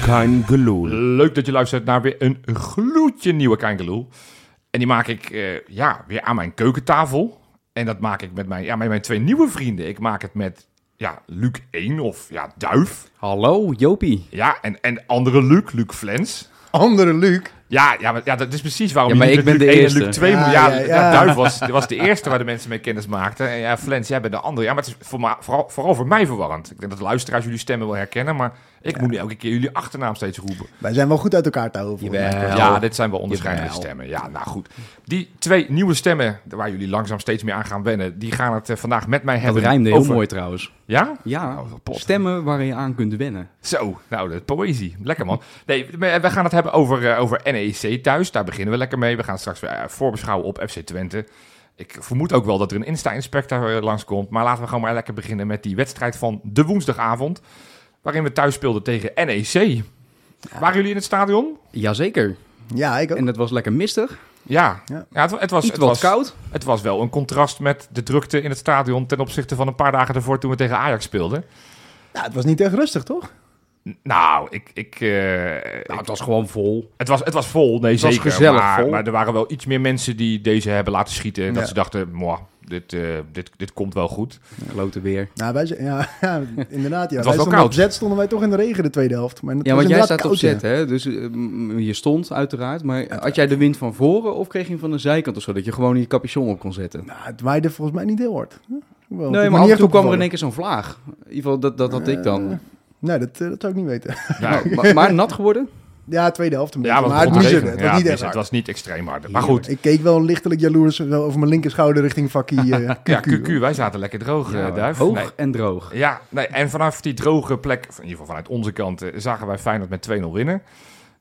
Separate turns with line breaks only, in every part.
Kangeloel.
Leuk dat je luistert naar weer een gloedje nieuwe Kangeloel. En die maak ik eh, ja, weer aan mijn keukentafel. En dat maak ik met mijn, ja, met mijn twee nieuwe vrienden. Ik maak het met ja, Luc 1 of ja, Duif.
Hallo, Jopie.
Ja, en, en andere Luc, Luc Flens.
Andere Luc.
Ja, ja, maar, ja, dat is precies waarom
Ja,
je
maar
niet
ik
met
ben
Luc
de
1 en Luc
eerste.
2 moet.
Ja,
Ja,
ja,
ja,
ja.
Duif was, was de eerste waar de mensen mee kennis maakten. En ja, Flens, jij bent de andere. Ja, maar het is voor ma- vooral, vooral voor mij verwarrend. Ik denk dat de luisteraars jullie stemmen wel herkennen, maar ik moet nu elke keer jullie achternaam steeds roepen.
Wij zijn wel goed uit elkaar te houden. volgens mij.
Jawel.
Ja, dit zijn wel onderscheidende
Jawel.
stemmen. Ja, nou goed. Die twee nieuwe stemmen, waar jullie langzaam steeds meer aan gaan wennen, die gaan het eh, vandaag met mij
Dat
hebben.
rijmde heel
over-
mooi trouwens.
Ja?
Ja,
Oh, wat pot.
stemmen waar je aan kunt wennen.
Zo, nou, de poëzie. Lekker man. Nee, we we gaan het hebben over, eh, over NEC thuis. Daar beginnen we lekker mee. We gaan straks weer eh, voorbeschouwen op FC Twente. Ik vermoed ook wel dat er een Insta-inspector eh, langskomt. Maar laten we gewoon maar lekker beginnen met die wedstrijd van de woensdagavond. Waarin we thuis speelden tegen NEC. Waren jullie in het stadion?
Jazeker.
Ja, ik ook.
En het was lekker mistig.
Ja. ja.
Ja.
het, wa- het was,
Iets
het
wat
was
koud.
Het was wel een contrast met de drukte in het stadion ten opzichte van een paar dagen daarvoor toen we tegen Ajax speelden.
Nou, het was niet echt rustig, toch?
N- Nou, ik, ik, eh, ik-
Nou, het was gewoon vol.
het, was, het was vol, nee
was
zeker.
gezellig
maar,
vol.
maar er waren wel iets meer mensen die deze hebben laten schieten. en Dat
Ja.
ze dachten, "Mwah, dit, eh, dit, dit komt wel goed.
Klote weer.
Nou, wij zijn, ja, ja, inderdaad. Ja.
was wel
wij stonden op
koud.
zet stonden wij toch in de regen de tweede helft. Maar het
Ja,
was
want jij
inderdaad
staat op
koud,
zet,
ja.
hè? Dus eh, m- je stond uiteraard. Maar had jij de wind van voren of kreeg je hem van de zijkant of zo? Dat je gewoon je capuchon op kon zetten?
Nou, het waaide volgens mij niet heel hard. Huh? Hoewel, het is
Nee,
me
maar
niet
af en
echt
toe kwam er in
opgevallen.
één keer zo'n vlaag. In ieder geval, dat, dat had ik dan.
Nee, dat, eh, dat zou ik niet weten.
Nou,
Nou, maar, maar nat geworden?
Ja, tweede helft een beetje.
ja, want
maar het
begon te
miezerde.
regenen.
Het
Ja,
was niet
het
echt
was- het
hard.
was niet extreem hard. Maar goed,
Ik keek wel lichtelijk jaloers wel over mijn linkerschouder richting vakkie eh, QQ.
ja, QQ, wij zaten lekker droog, eh, Duif.
hoog
Nee.
en droog.
Ja, nee, en vanaf die droge plek, in ieder geval vanuit onze kant, eh, zagen wij Feyenoord met 2-0 winnen.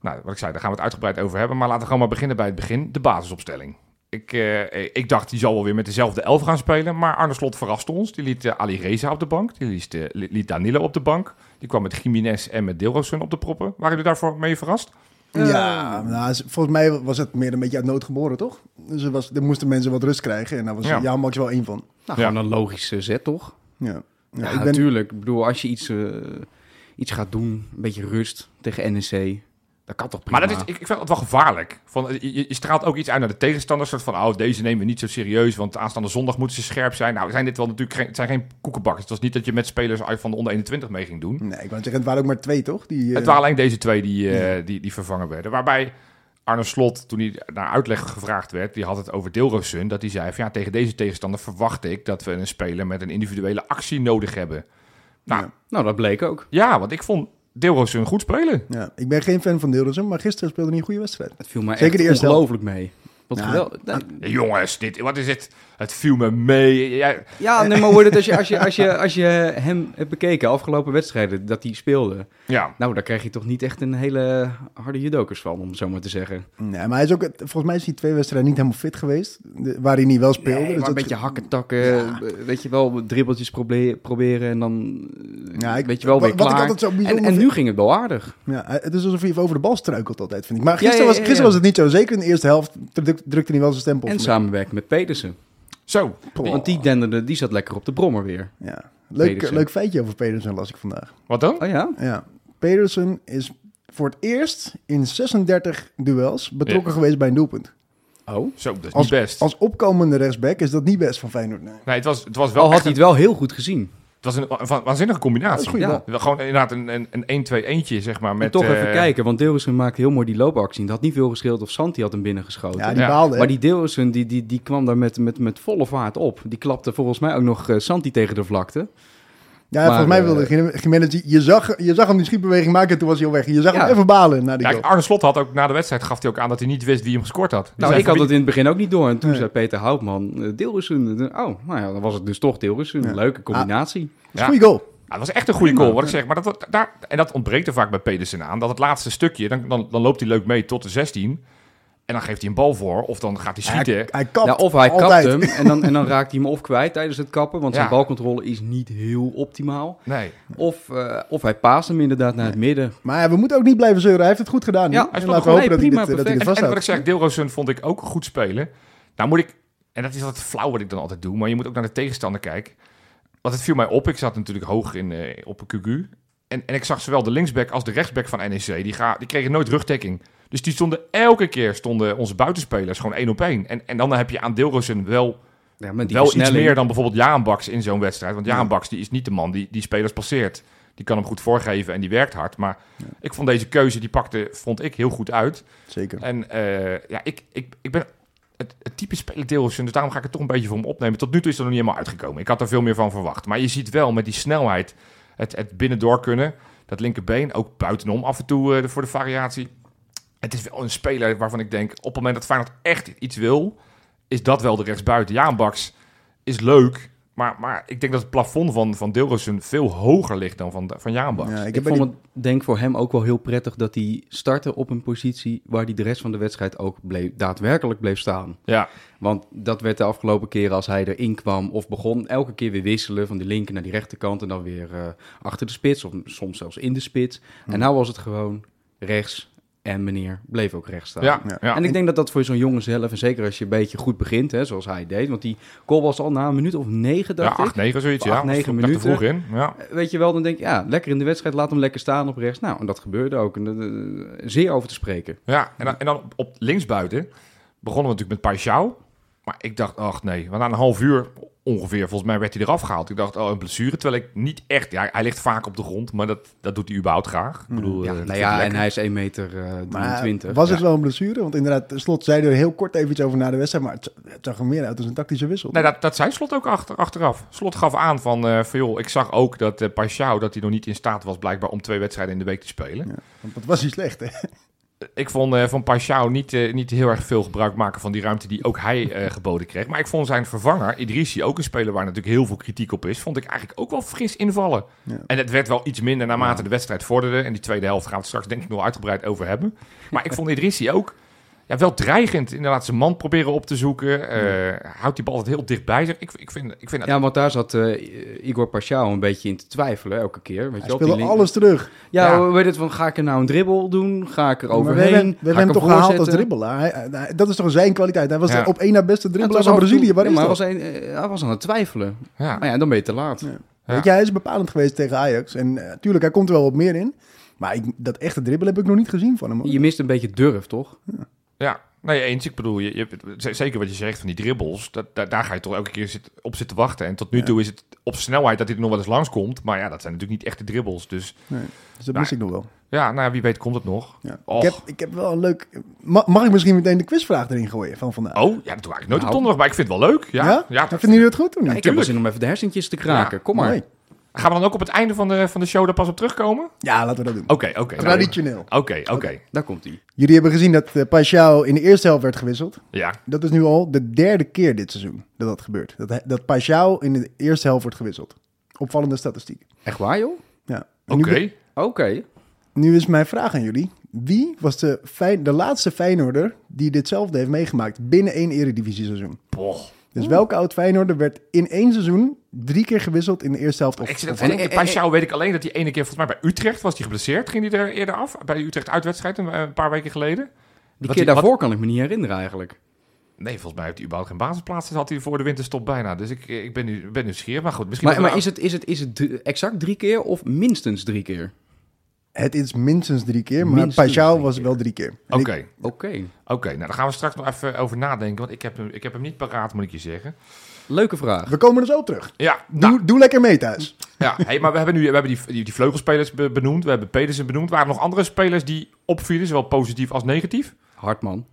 Nou, wat ik zei, daar gaan we het uitgebreid over hebben. Maar laten we gewoon maar beginnen bij het begin. De basisopstelling. Ik, eh, ik dacht, die zal wel weer met dezelfde elf gaan spelen. Maar Arne Slot verraste ons. Die liet eh, Ali Reza op de bank. Die liet, eh, li- liet Danilo op de bank. Die kwam met Jiménez en met Dilrosun op de proppen. Waren jullie daarvoor mee verrast?
Ja, nou, ze- volgens mij was het meer een beetje uit nood geboren, toch? Dus er, was, er moesten mensen wat rust krijgen. En daar was
Ja.
ja. Max wel één van.
Nou,
Ja.
gewoon een logische zet, toch?
Ja,
Ja,
ja, ik ben,
natuurlijk. Ik bedoel, als je iets, eh, iets gaat doen, een beetje rust tegen NEC, dat kan toch prima.
Maar dat is, ik, ik vind het wel gevaarlijk. Van, eh, je, je straalt ook iets uit naar de tegenstanders. Soort van, oh, deze nemen we niet zo serieus. Want aanstaande zondag moeten ze scherp zijn. Nou, zijn dit wel natuurlijk geen, het zijn geen koekenbakkers. Het was niet dat je met spelers uit van de onder 21 mee ging doen.
nee, ik wou zeggen, het waren ook maar twee, toch? Die, eh,
Het waren alleen deze twee die, eh, die, die vervangen werden. Waarbij Arne Slot, toen hij naar uitleg gevraagd werd, die had het over Deelrosun. Dat hij zei van, ja, tegen deze tegenstander verwacht ik dat we een speler met een individuele actie nodig hebben. Nou, ja,
Nou, dat bleek ook.
want ik vond Deelrosun goed spelen.
ja, ik ben geen fan van Deeldersen, maar gisteren speelde hij een goede wedstrijd.
Het viel mij
Zeker de
echt
eerste
ongelooflijk mee. Wat
Ja, Ah.
geweldig.
Ja, jongens, dit, wat is dit? Het viel me mee. Ja,
Ja, nee, maar hoor het, als je, als, je, als, je, als je hem hebt bekeken, afgelopen wedstrijden, dat hij speelde.
ja.
Nou, daar krijg je toch niet echt een hele harde judokers van, om het zo maar te zeggen.
Nee, maar hij is ook, volgens mij is hij twee wedstrijden niet helemaal fit geweest, de- waar hij niet wel speelde.
Nee, maar
dus
een
dat-
beetje hakken, takken, eh, weet je wel, dribbeltjes proble- proberen en dan eh,
Ja, ik-
weet je wel weer
wat- wat ik
klaar.
altijd zo
en,
bijzonder
en nu
vind-
ging het wel aardig.
Ja, het is alsof hij even over de bal struikelt altijd, vind ik. Maar
Ja,
gisteren,
ja,
was,
ja, ja.
gisteren was het niet zo. Zeker in de eerste helft druk- drukte hij wel zijn stempel.
En
voor mij.
samenwerken met Pedersen.
Zo. Die-
Want die denderde, die zat lekker op de brommer weer.
Ja. Leuk,
Pedersen.
leuk feitje over Pedersen las ik vandaag.
Wat dan?
Oh ja?
Ja, Pedersen is voor het eerst in 36 duels betrokken geweest bij een doelpunt.
Oh.
Zo, dat is
Als,
niet best.
als opkomende rechtsback is dat niet best van Feyenoord. Nee.
nee, het was, het was wel
Al had
echt
hij
een,
het wel heel goed gezien.
het was een wa- wa- waanzinnige combinatie.
Ja, dat is goed,
Ja. Gewoon inderdaad een, een, een 1-2 eentje, zeg maar. Met,
en toch
eh,
even kijken, want Deelrussen maakte heel mooi die loopactie. Het had niet veel gescheeld of Santi had hem binnengeschoten.
Ja, die
Ja,
baalde. hè.
Maar die Deelrussen, die, die, die kwam daar met, met, met volle vaart op. Die klapte volgens mij ook nog eh, Santi tegen de
Dus
vlakte.
ja,
maar,
volgens mij
eh,
wilde Jim- Jiménez... die- Je zag, je zag hem die schietbeweging maken en toen was hij al weg. Je zag
Ja.
hem even balen naar die
Ja,
goal.
Arne Slot had ook na de wedstrijd gaf hij ook aan dat hij niet wist wie hem gescoord had. Die
Nou,
zei
ik had
van
dat in het begin ook niet door. En toen
Nee.
zei Peter Houtman, eh, Deelrussen. eh, Oh, nou ja, dan was het dus toch Deelrussen.
Ja.
Leuke combinatie.
Ja.
Goeie goal.
Ja, het was echt een goede goal, wat ik zeg. Maar dat, daar, en dat ontbreekt er vaak bij Pedersen aan. Dat het laatste stukje, dan, dan, dan loopt hij leuk mee tot de 16. En dan geeft hij een bal voor. Of dan gaat hij schieten.
Hij, hij kapt
Ja, of hij kapt
altijd.
hem en dan, en dan raakt hij hem of kwijt tijdens het kappen. Want zijn
Ja.
balcontrole is niet heel optimaal.
Nee.
Of, eh, of hij paast hem inderdaad naar het midden.
Maar ja, we moeten ook niet blijven zeuren. Hij heeft het goed gedaan.
Ja, hij
hè? En
speelde
laten we
gewoon-
hopen dat
nee, prima,
hij dit- dat hij
perfect.
En,
dit
en wat ik
vasthoudt.
zeg, Deelrozen vond ik ook goed spelen. Nou moet ik, en dat is wat flauw wat ik dan altijd doe, maar je moet ook naar de tegenstander kijken. Want het viel mij op, ik zat natuurlijk hoog in, eh, op een QQ. En, en ik zag zowel de linksback als de rechtsback van NEC. Die, ga, die kregen nooit rugdekking. Dus die stonden elke keer stonden onze buitenspelers gewoon één op één. En, en dan heb je aan Deelrozen wel,
Ja, met die
wel iets
versnelling.
meer dan bijvoorbeeld Jaan Baks in zo'n wedstrijd. Want Jaan Baks die is niet de man die, die spelers passeert. Die kan hem goed voorgeven en die werkt hard. Maar ik vond deze keuze, die pakte, vond ik heel goed uit.
Zeker.
En eh, ja, ik, ik, ik ben het, het type speler Dillerson, dus daarom ga ik het toch een beetje voor hem opnemen. Tot nu toe is er nog niet helemaal uitgekomen. Ik had er veel meer van verwacht. Maar je ziet wel met die snelheid het, het binnendoor kunnen. Dat linkerbeen, ook buitenom af en toe eh, voor de variatie. Het is wel een speler waarvan ik denk, op het moment dat Feyenoord echt iets wil, is dat wel de rechtsbuiten. Ja, een Baks is leuk, maar, maar ik denk dat het plafond van, van Dillerson veel hoger ligt dan van, van Jaan Baks.
Ja, ik
Ik,
heb bij
vond
die-
het denk voor hem ook wel heel prettig dat hij startte op een positie waar hij de rest van de wedstrijd ook bleef, daadwerkelijk bleef staan.
Ja,
Want dat werd de afgelopen keren als hij erin kwam of begon, elke keer weer wisselen van die linker naar die rechterkant en dan weer eh, achter de spits of soms zelfs in de spits.
Hmm.
En nou was het gewoon rechts en meneer bleef ook rechts staan.
ja,
Ja.
ja.
En ik denk dat dat voor zo'n jongen zelf, en zeker als je een beetje goed begint, hè, zoals hij deed, want die goal was al na een minuut of negen,
Ja,
dacht ik.
8, 9 zoiets, ja.
Acht,
Dat is
negen
toch echt te
minuten.
vroeg in. Ja.
weet je wel, dan denk je, ja, lekker in de wedstrijd, laat hem lekker staan op rechts. Nou, en dat gebeurde ook. En, eh, zeer over te spreken.
Ja, en dan, en dan op linksbuiten begonnen we natuurlijk met Paixão. Maar ik dacht, ach nee, want na een half uur ongeveer, volgens mij werd hij eraf gehaald. Ik dacht, oh, een blessure. Terwijl ik niet echt, ja, hij ligt vaak op de grond, maar dat, dat doet hij überhaupt graag. Ik bedoel,
Ja, nou
eh, dat vindt hij
ja, en
lekker.
hij is 1 meter eh,
Maar
23.
was
ja.
het wel een blessure? Want inderdaad, Slot zei er heel kort even iets over na de wedstrijd, maar het, het zag er meer uit als een tactische wissel.
Nee, dat, dat zei Slot ook achter, achteraf. Slot gaf aan van, eh, van joh, ik zag ook dat eh Paixão, dat hij nog niet in staat was blijkbaar om twee wedstrijden in de week te spelen.
Want dat was niet slecht, hè?
Ik vond eh, van Paschao niet, eh, niet heel erg veel gebruik maken van die ruimte die ook hij eh, geboden kreeg. Maar ik vond zijn vervanger, Idrissi, ook een speler waar natuurlijk heel veel kritiek op is, vond ik eigenlijk ook wel fris invallen.
Ja.
En het werd wel iets minder naarmate de wedstrijd vorderde. En die tweede helft gaan we het straks denk ik nog uitgebreid over hebben. Maar ik vond Idrissi ook ja, wel dreigend. Inderdaad, zijn man proberen op te zoeken. eh, Houdt die bal altijd heel dicht bij zich. Ik, ik vind, ik vind
Ja, want daar zat eh, Igor Paschal een beetje in te twijfelen elke keer. Weet
Hij
je, wel, op die
speelde
link-
alles terug.
Ja,
Ja.
hoe weet het van, ga ik er nou een dribbel doen? Ga ik er
Maar we hebben,
overheen?
we hebben hem toch gehaald als dribbelaar. Hij- hij- dat is toch zijn kwaliteit? Hij was
Ja.
de op één na beste dribbelaar van Brazilië. Waar
maar
is
hij
dat?
was, een, eh, hij was aan het twijfelen.
ja.
Maar ja, dan ben je te laat.
Ja.
Weet je, hij is bepalend geweest tegen Ajax. En natuurlijk, tuurlijk, hij komt er wel wat meer in. Maar ik, dat echte dribbel heb ik nog niet gezien van hem. hoor.
Je mist een beetje durf, toch?
Ja, nee, eens. Ik bedoel, je, je, z- zeker wat je zegt van die dribbles, dat, daar, daar ga je toch elke keer zit, op zitten wachten. En tot nu toe is het op snelheid dat hij er nog wel eens langskomt. Maar ja, dat zijn natuurlijk niet echte dribbles. Dus
Dus dat
Nou,
mis ik nog wel.
ja, nou ja, wie weet komt het nog.
Ja. Ik,
Och.
heb, ik heb wel een leuk... Ma- mag ik misschien meteen de quizvraag erin gooien van vandaag?
Oh, ja, dat doe ik eigenlijk nooit
Nou.
op donderdag, maar ik vind het wel leuk. Ja, ja? dat-
Vinden jullie het goed of niet?
Ik heb wel zin om even de hersentjes te kraken. Kom maar.
Mooi.
Gaan we dan ook op het einde van de, van de show daar pas op terugkomen?
Ja, laten we dat doen.
Oké, oké. nou,
Traditioneel.
Oké, oké.
Daar komt hij.
Jullie hebben gezien dat eh Paixão in de eerste helft werd gewisseld.
Ja,
Dat is nu al de derde keer dit seizoen dat dat gebeurt. Dat, hij- dat Paixão in de eerste helft wordt gewisseld. Opvallende statistiek.
Echt waar, joh?
Ja. En nu
oké.
be-
Oké.
Nu is mijn vraag aan jullie. Wie was de, Fijn- de laatste Feyenoorder die ditzelfde heeft meegemaakt binnen één eredivisie seizoen?
Boah.
Dus welke oud Feyenoorder werd in één seizoen drie keer gewisseld in de eerste helft? Of,
Ik zit
of-
even te denken, bij Sjouw weet ik alleen dat die ene keer, volgens mij bij Utrecht, was die geblesseerd. Ging die er eerder af? Bij de Utrecht uitwedstrijd een, een paar weken geleden.
Die
Wat
keer
die- wat-
daarvoor kan ik me niet herinneren eigenlijk.
Nee, volgens mij heeft hij überhaupt geen basisplaats. Dat had hij voor de winterstop bijna. Dus ik, ik ben, nu, ben nieuwsgierig. Maar goed, misschien...
Maar,
dat
maar
we-
is het, is het, is het drie- exact drie keer of minstens drie keer?
Het is minstens drie keer, maar
Minstens
Paixão
drie
was
keer.
wel drie keer. En
Oké,
ik-
Oké.
oké. nou, daar gaan we straks nog even over nadenken. Want ik heb hem, ik heb hem niet paraat, moet ik je zeggen.
Leuke vraag.
we komen er zo op terug.
Ja,
Doe,
nou,
doe lekker mee thuis.
ja. Hey, maar we hebben nu we hebben die, die, die vleugelspelers be- benoemd. We hebben Pedersen benoemd. Waren er nog andere spelers die opvielen, zowel positief als negatief?
Hartman.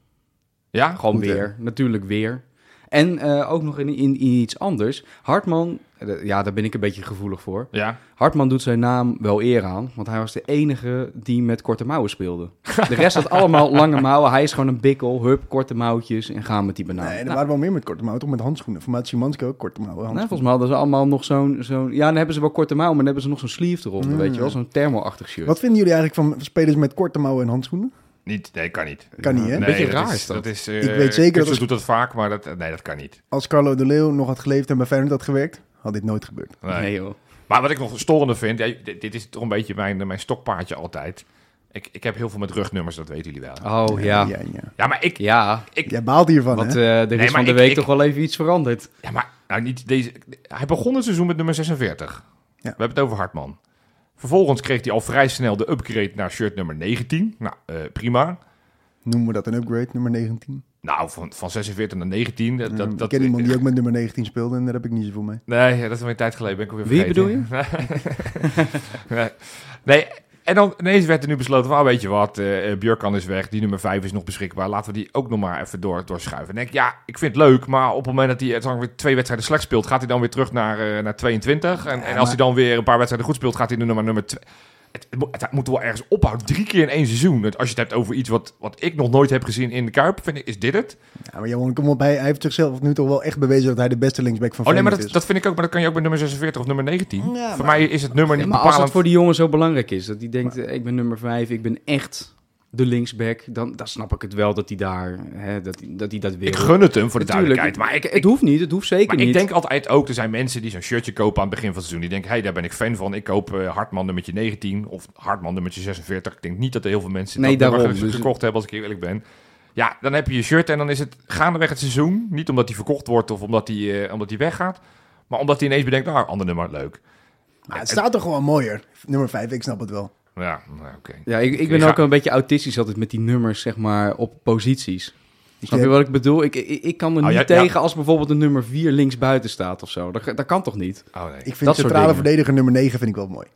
Ja,
Gewoon
Goed, hè?
weer. Natuurlijk weer. En eh, ook nog in, in, in iets anders. Hartman, eh, ja, daar ben ik een beetje gevoelig voor.
ja.
Hartman doet zijn naam wel eer aan, want hij was de enige die met korte mouwen speelde. De rest had allemaal lange mouwen. Hij is gewoon een bikkel, hup, korte mouwtjes en gaan met die banaan.
nee, er
Nou,
waren wel meer met korte mouwen, toch met handschoenen. Formaat Szymanski ook korte mouwen.
Nou,
handschoenen.
volgens mij hadden ze allemaal nog zo'n... zo'n ja, dan hebben ze wel korte mouwen, maar dan hebben ze nog zo'n sleeve eronder, weet je wel? Zo'n thermo-achtig shirt.
Wat vinden jullie eigenlijk van spelers met korte mouwen en handschoenen?
Niet, nee, kan niet.
Kan niet, hè?
Nee,
beetje
dat
raar
is
is dat.
dat. is, eh,
Ik weet zeker dat
Kutsus
als-
doet dat vaak, maar dat, nee, dat kan niet.
Als Carlo de Leeuw nog had geleefd en bij Feyenoord had gewerkt, had dit nooit gebeurd.
Nee.
Nee, joh.
Maar wat ik nog storender vind, ja, dit, dit is toch een beetje mijn, mijn stokpaardje altijd. Ik, ik heb heel veel met rugnummers, dat weten jullie wel.
Ah.
Oh, ja.
ja,
Ja,
ja.
Ja, maar ik, ik,
Jij baalt hiervan,
want
hè?
eh, er is
maar
van de
ik-
week
ik-
toch wel even iets veranderd.
Ja, maar nou, niet deze. Hij begon het seizoen met nummer 46. We hebben het over Hartman. Vervolgens kreeg hij al vrij snel de upgrade naar shirt nummer 19. Nou, eh, prima.
Noemen we dat een upgrade, nummer 19?
Nou, van, van 46 naar 19. Dat,
Ja,
dat,
ik ken iemand die ook met nummer 19 speelde en daar heb ik niet zoveel mee.
Nee, dat is alweer een tijd geleden. Ben ik alweer
Wie
vergeten. nee. nee, en dan ineens werd er nu besloten van, oh, weet je wat, eh eh, Björkan is weg, die nummer 5 is nog beschikbaar, laten we die ook nog maar even door, doorschuiven. En ik, denk, ja, ik vind het leuk, maar op het moment dat hij het dan weer twee wedstrijden slecht speelt, gaat hij dan weer terug naar, eh, naar 22. En, en
Ja,
als hij
maar-
dan weer een paar wedstrijden goed speelt, gaat hij nu naar nummer 2. Het, het, moet- het moet wel ergens ophouden. Drie keer in één seizoen. Het- Als je het hebt over iets wat, wat ik nog nooit heb gezien in de Kuip, vind ik, is dit het?
Ja, maar Johan, kom op, hij, hij heeft zichzelf nu toch wel echt bewezen dat hij de beste linksback van
Oh nee, maar
Feyenoord
dat,
is.
dat vind ik ook. Maar dat kan je ook bij nummer 46 of nummer 19.
Ja,
Voor
maar-
mij is het nummer
Ja,
niet
maar als
bepalend.
het voor die jongen zo belangrijk is, dat hij denkt, eh, ik ben nummer vijf, ik ben echt de linksback, dan, dan snap ik het wel dat hij daar, hè, dat, hij- dat hij dat wil.
Ik gun het hem voor de
Natuurlijk,
duidelijkheid. Maar ik,
het
ik,
hoeft niet, het hoeft zeker
maar
niet.
ik denk altijd ook, er zijn mensen die zo'n shirtje kopen aan het begin van het seizoen. Die denken, hé, hey, daar ben ik fan van. Ik koop eh, Hartman nummertje 19 of Hartman nummertje 46. Ik denk niet dat er heel veel mensen
Nee,
dat nummer
daarom.
ge-
Dus-
gekocht hebben, als ik eerlijk ben. Ja, dan heb je je shirt en dan is het gaandeweg het seizoen. Niet omdat hij verkocht wordt of omdat hij, eh, omdat hij weggaat. Maar omdat hij ineens bedenkt, nou, ander nummer, leuk.
Maar het staat toch gewoon mooier. Nummer 5, ik snap het wel.
Ja, nou, oké.
Ja, ik, ik ben
Ik ga-
ook een beetje autistisch altijd met die nummers, zeg maar, op posities. Snap je
heb-
wat ik bedoel? Ik, ik, ik kan er
Oh,
niet
ja, ja.
tegen als bijvoorbeeld de nummer 4 linksbuiten staat of zo. Dat, dat kan toch niet?
Oh nee.
Ik vind
soort
centrale
dingen.
verdediger nummer 9 vind ik wel mooi.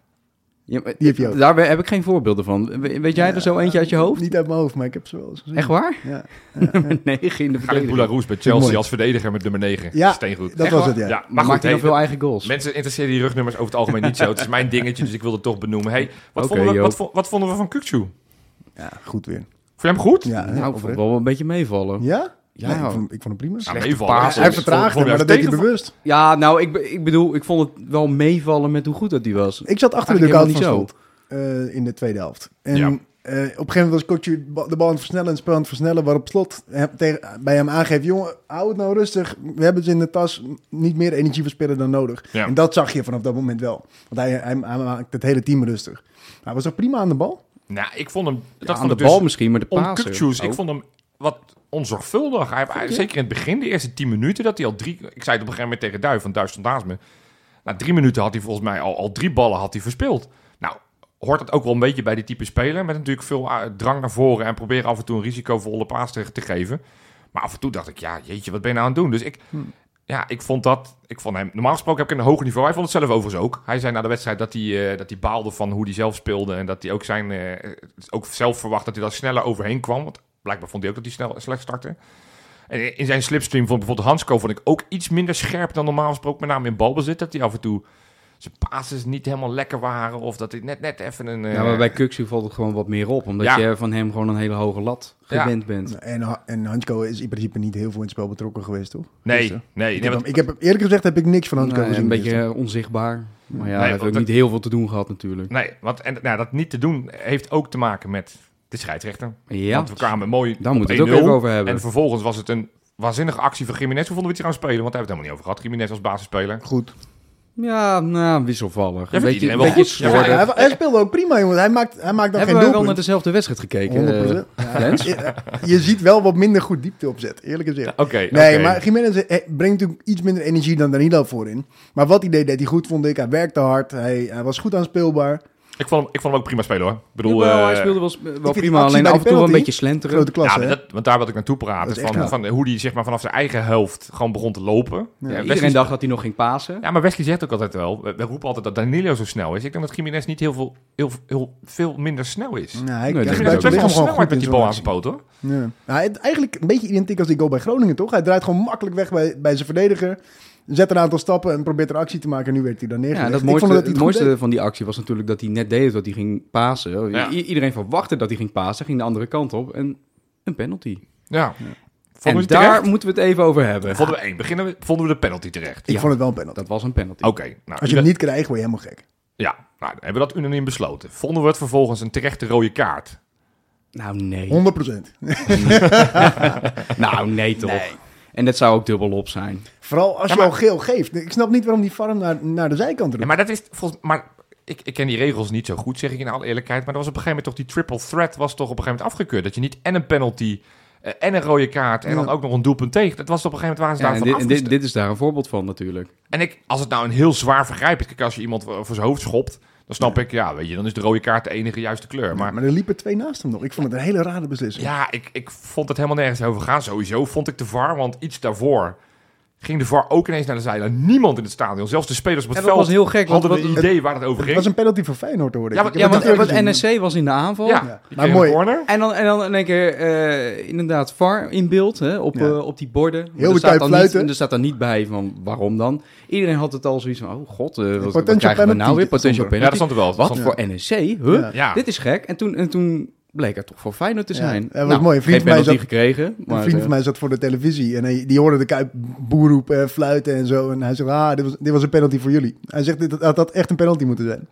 Ja, maar-
Die heb je ook. eh,
Daar heb ik geen voorbeelden van. We- Weet jij er zo eentje uit je hoofd?
Niet uit mijn hoofd, maar ik heb ze wel eens gezien.
Echt waar?
Ja,
Negen in de
Khalid
verdediging.
Boularus bij Chelsea
Mooi.
als verdediger met nummer 9.
Ja,
Steengoed.
dat
Echt
was
waar?
het, ja.
Ja, maar
Maar maakt
goed,
hij
hey,
nog veel eigen goals?
Mensen interesseren die rugnummers over het algemeen niet zo. Het is mijn dingetje, dus ik wilde het toch benoemen. Hey, wat,
Oké,
vonden we,
Joop.
wat, vo- wat vonden we van Kukcu? Vond
Ja, goed weer.
je hem goed?
Ja, hè,
Nou, ik vond
oprecht.
het wel een beetje meevallen.
ja?
Ja.
Nee, ik, vond, ik vond het prima.
Ja,
Slechte
meevallen.
paas.
hij
vond-
vertraagde,
vond-
maar dat
vond-
deed hij
tegen-
bewust.
Ja, nou, ik, be- ik bedoel, ik vond het wel meevallen met hoe goed dat die was.
Ik zat achter de
Eigenlijk
dugout van
helemaal niet
Slot eh, in de tweede helft. En
Ja.
eh, op een gegeven moment was Kotje ba- de bal aan het versnellen en het spel aan het versnellen. Waarop Slot hem tegen, bij hem aangeeft, jongen, hou het nou rustig. We hebben het in de tas. Niet meer energie verspillen dan nodig.
Ja.
En dat zag je vanaf dat moment wel. Want hij, hij, hij maakt het hele team rustig. Hij was toch prima aan de bal?
Nou, ik vond hem... Dat
Ja,
vond
aan de
ik
bal
dus
misschien, maar de Oh.
om
paas.
Kukcu's. Ik vond hem wat onzorgvuldig. Hij, hij- zeker in het begin, de eerste 10 minuten, dat hij al drie... Ik zei het op een gegeven moment tegen Duif, want Duif stond naast me. Na drie minuten had hij volgens mij al, al drie ballen had hij verspeeld. Nou, hoort dat ook wel een beetje bij die type speler. Met natuurlijk veel eh, drang naar voren en proberen af en toe een risicovolle paas te, te geven. Maar af en toe dacht ik, ja, jeetje, wat ben je nou aan het doen? Dus ik, ja, ik vond dat, ik vond hem, normaal gesproken heb ik een hoger niveau. Hij vond het zelf overigens ook. Hij zei na de wedstrijd dat hij, eh, dat hij baalde van hoe hij zelf speelde. En dat hij ook, zijn, eh, ook zelf verwacht dat hij daar sneller overheen kwam. Want blijkbaar vond hij ook dat hij snel, slecht startte. En in zijn slipstream vond bijvoorbeeld Hansko vond ik ook iets minder scherp dan normaal gesproken. Met name in balbezit, dat hij af en toe zijn passes niet helemaal lekker waren. Of dat hij net, net even een... eh,
Ja, maar bij Kuksu valt het gewoon wat meer op. Omdat
Ja.
je van hem gewoon een hele hoge lat
Ja.
gewend bent.
Nou, En, Ha- en Hansko is in principe niet heel veel in het spel betrokken geweest, toch?
nee,
Gisteren.
nee, nee,
Ik heb,
want-
hem- ik heb, eerlijk gezegd heb ik niks van Hansko
Nee,
gezien.
een beetje
gisteren.
eh, onzichtbaar. Maar ja, hij
want
heeft ook
dat-
niet heel veel te doen gehad natuurlijk.
Nee, want en, nou, dat niet te doen heeft ook te maken met de scheidsrechter.
Ja.
Want we kwamen mooi
Daar
op
moeten we het ook
1-0.
even over hebben.
En vervolgens was het een waanzinnige actie van Jiménez. Hoe vonden we het hier aan spelen? Want daar hebben we het helemaal niet over gehad. Jiménez als basisspeler.
Goed.
Ja, nou, wisselvallig.
Ja,
een
vindt
beetje,
iedereen
een
wel
beetje
goed. Ja,
slordig.
hij, hij speelde ook prima, jongen. Hij maakt, hij maakt
Hebben
dan geen
wij wel
doelpunt.
naar dezelfde wedstrijd gekeken?
100%.
eh, Lens?
Je, je ziet wel wat minder goed diepte opzet, eerlijk gezegd.
Oké,
Nee,
oké.
maar Jiménez eh, brengt natuurlijk iets minder energie dan Danilo voorin. Maar wat hij deed, deed hij goed, vond ik. Hij werkte hard, hij, hij was goed aanspeelbaar.
Ik, vond hem, ik vond hem ook prima spelen hoor. Ik bedoel,
Jawel, hij
eh,
speelde wel, s- wel
die
prima,
actie
alleen
bij
af en
die
toe wel een
penalty,
beetje slenteren.
Grote klasse,
ja,
hè?
maar dat, want daar wil ik naartoe praten.
Dat is echt
Van,
knap.
van hoe die zeg maar, vanaf zijn eigen helft gewoon begon te lopen.
Ja,
Ja,
Wesley-
iedereen dacht dat hij nog ging pasen.
ja, maar Wesley zegt ook altijd wel. We, we roepen altijd dat Danilo zo snel is. Ik denk dat Jiménez niet heel veel, heel, heel veel minder snel is.
Nou, hij
Nee, dat
hij
Jiménez heeft
gebruikt
best wel
hem gewoon
snelheid
goed
met die
in zo'n
bal aan
actie.
zijn poot hoor.
Ja. Nou, hij- eigenlijk een beetje identiek als die goal bij Groningen, toch? Hij draait gewoon makkelijk weg bij, bij zijn verdediger. Zet een aantal stappen en probeert er actie te maken. En nu werd hij dan
Ja,
neergelegd.
dat
Ik
mooiste,
vond
het,
hij goed
mooiste van die actie was natuurlijk dat hij net deed dat hij ging pasen.
Ja.
I- iedereen verwachtte dat hij ging pasen, ging de andere kant op en een penalty.
Ja.
en
Vonden we
daar
daar...
moeten we het even over hebben.
Vonden we één. Beginnen we, vonden we de penalty terecht?
deed. Ik
Ja.
vond het wel een penalty.
Dat was een penalty.
Oké. nou,
Als je hem niet krijgt, word je helemaal gek.
Ja, nou, dan hebben we dat unaniem besloten. Vonden we het vervolgens een terechte rode kaart?
Nou nee,
100 procent.
nou nee toch. En dat zou ook dubbel op zijn.
Vooral als
Ja,
je
maar-
al geel geeft. Ik snap niet waarom die farm naar, naar de zijkant
Ja,
roept.
maar dat is volgens maar ik, ik ken die regels niet zo goed, zeg ik in alle eerlijkheid. Maar er was op een gegeven moment toch die triple threat was toch op een gegeven moment afgekeurd. Dat je niet en een penalty eh, en een rode kaart en dan ook nog een doelpunt tegen. Dat was op een gegeven moment
Ja,
waar
en
ze
dit,
daarvan
en
af.
dit, dit is daar een voorbeeld van natuurlijk.
En ik, als het nou een heel zwaar vergrijp is, kijk als je iemand voor voor zijn hoofd schopt, Dan snap ik, ja, weet je, dan is de rode kaart de enige juiste kleur. Maar
Maar er liepen twee naast hem nog. Ik vond het een hele rare beslissing.
ja, ik, ik vond het helemaal nergens over gaan. Sowieso vond ik de VAR, want iets daarvoor ging de VAR ook ineens naar de zijlijn. Niemand in het stadion, zelfs de spelers op het
En dat was
veld,
heel gek. Want
hadden
wat-
een idee waar het over
Het
ging.
was een penalty voor Feyenoord, hoorde ik.
Ja, maar-
Ik
ja,
heb
want,
het
want
terug gezien.
NSC was in de aanval.
ja,
Ja.
die
Maar
kreeg
Nou, mooi.
een corner.
En dan, en dan in één keer eh, inderdaad VAR in beeld hè, op,
Ja.
eh, op die borden. Maar
Heel
er
de
staat
tijd
dan niet,
fluiten.
en er staat dan niet bij van waarom dan. Iedereen had het al zoiets van, oh god, eh, wat, wat
potential
krijgen we nou
penalty
weer? Potential
stond er.
Ja,
penalty.
dat stond er wel. Dat
Wat
stond-
voor NEC? Huh?
Ja.
Ja.
Dit is gek. En toen, en toen bleek het toch voor Feyenoord te
Ja,
zijn. Nou,
dat was mooi. Een vriend
geen
van mij
penalty gekregen.
Een
Maar,
vriend
eh,
van mij zat voor de televisie en hij, die hoorde de Kuip boer roepen en fluiten en zo. En hij zegt, ah, dit was, dit was een penalty voor jullie. Hij zegt, dit had, had echt een penalty moeten zijn.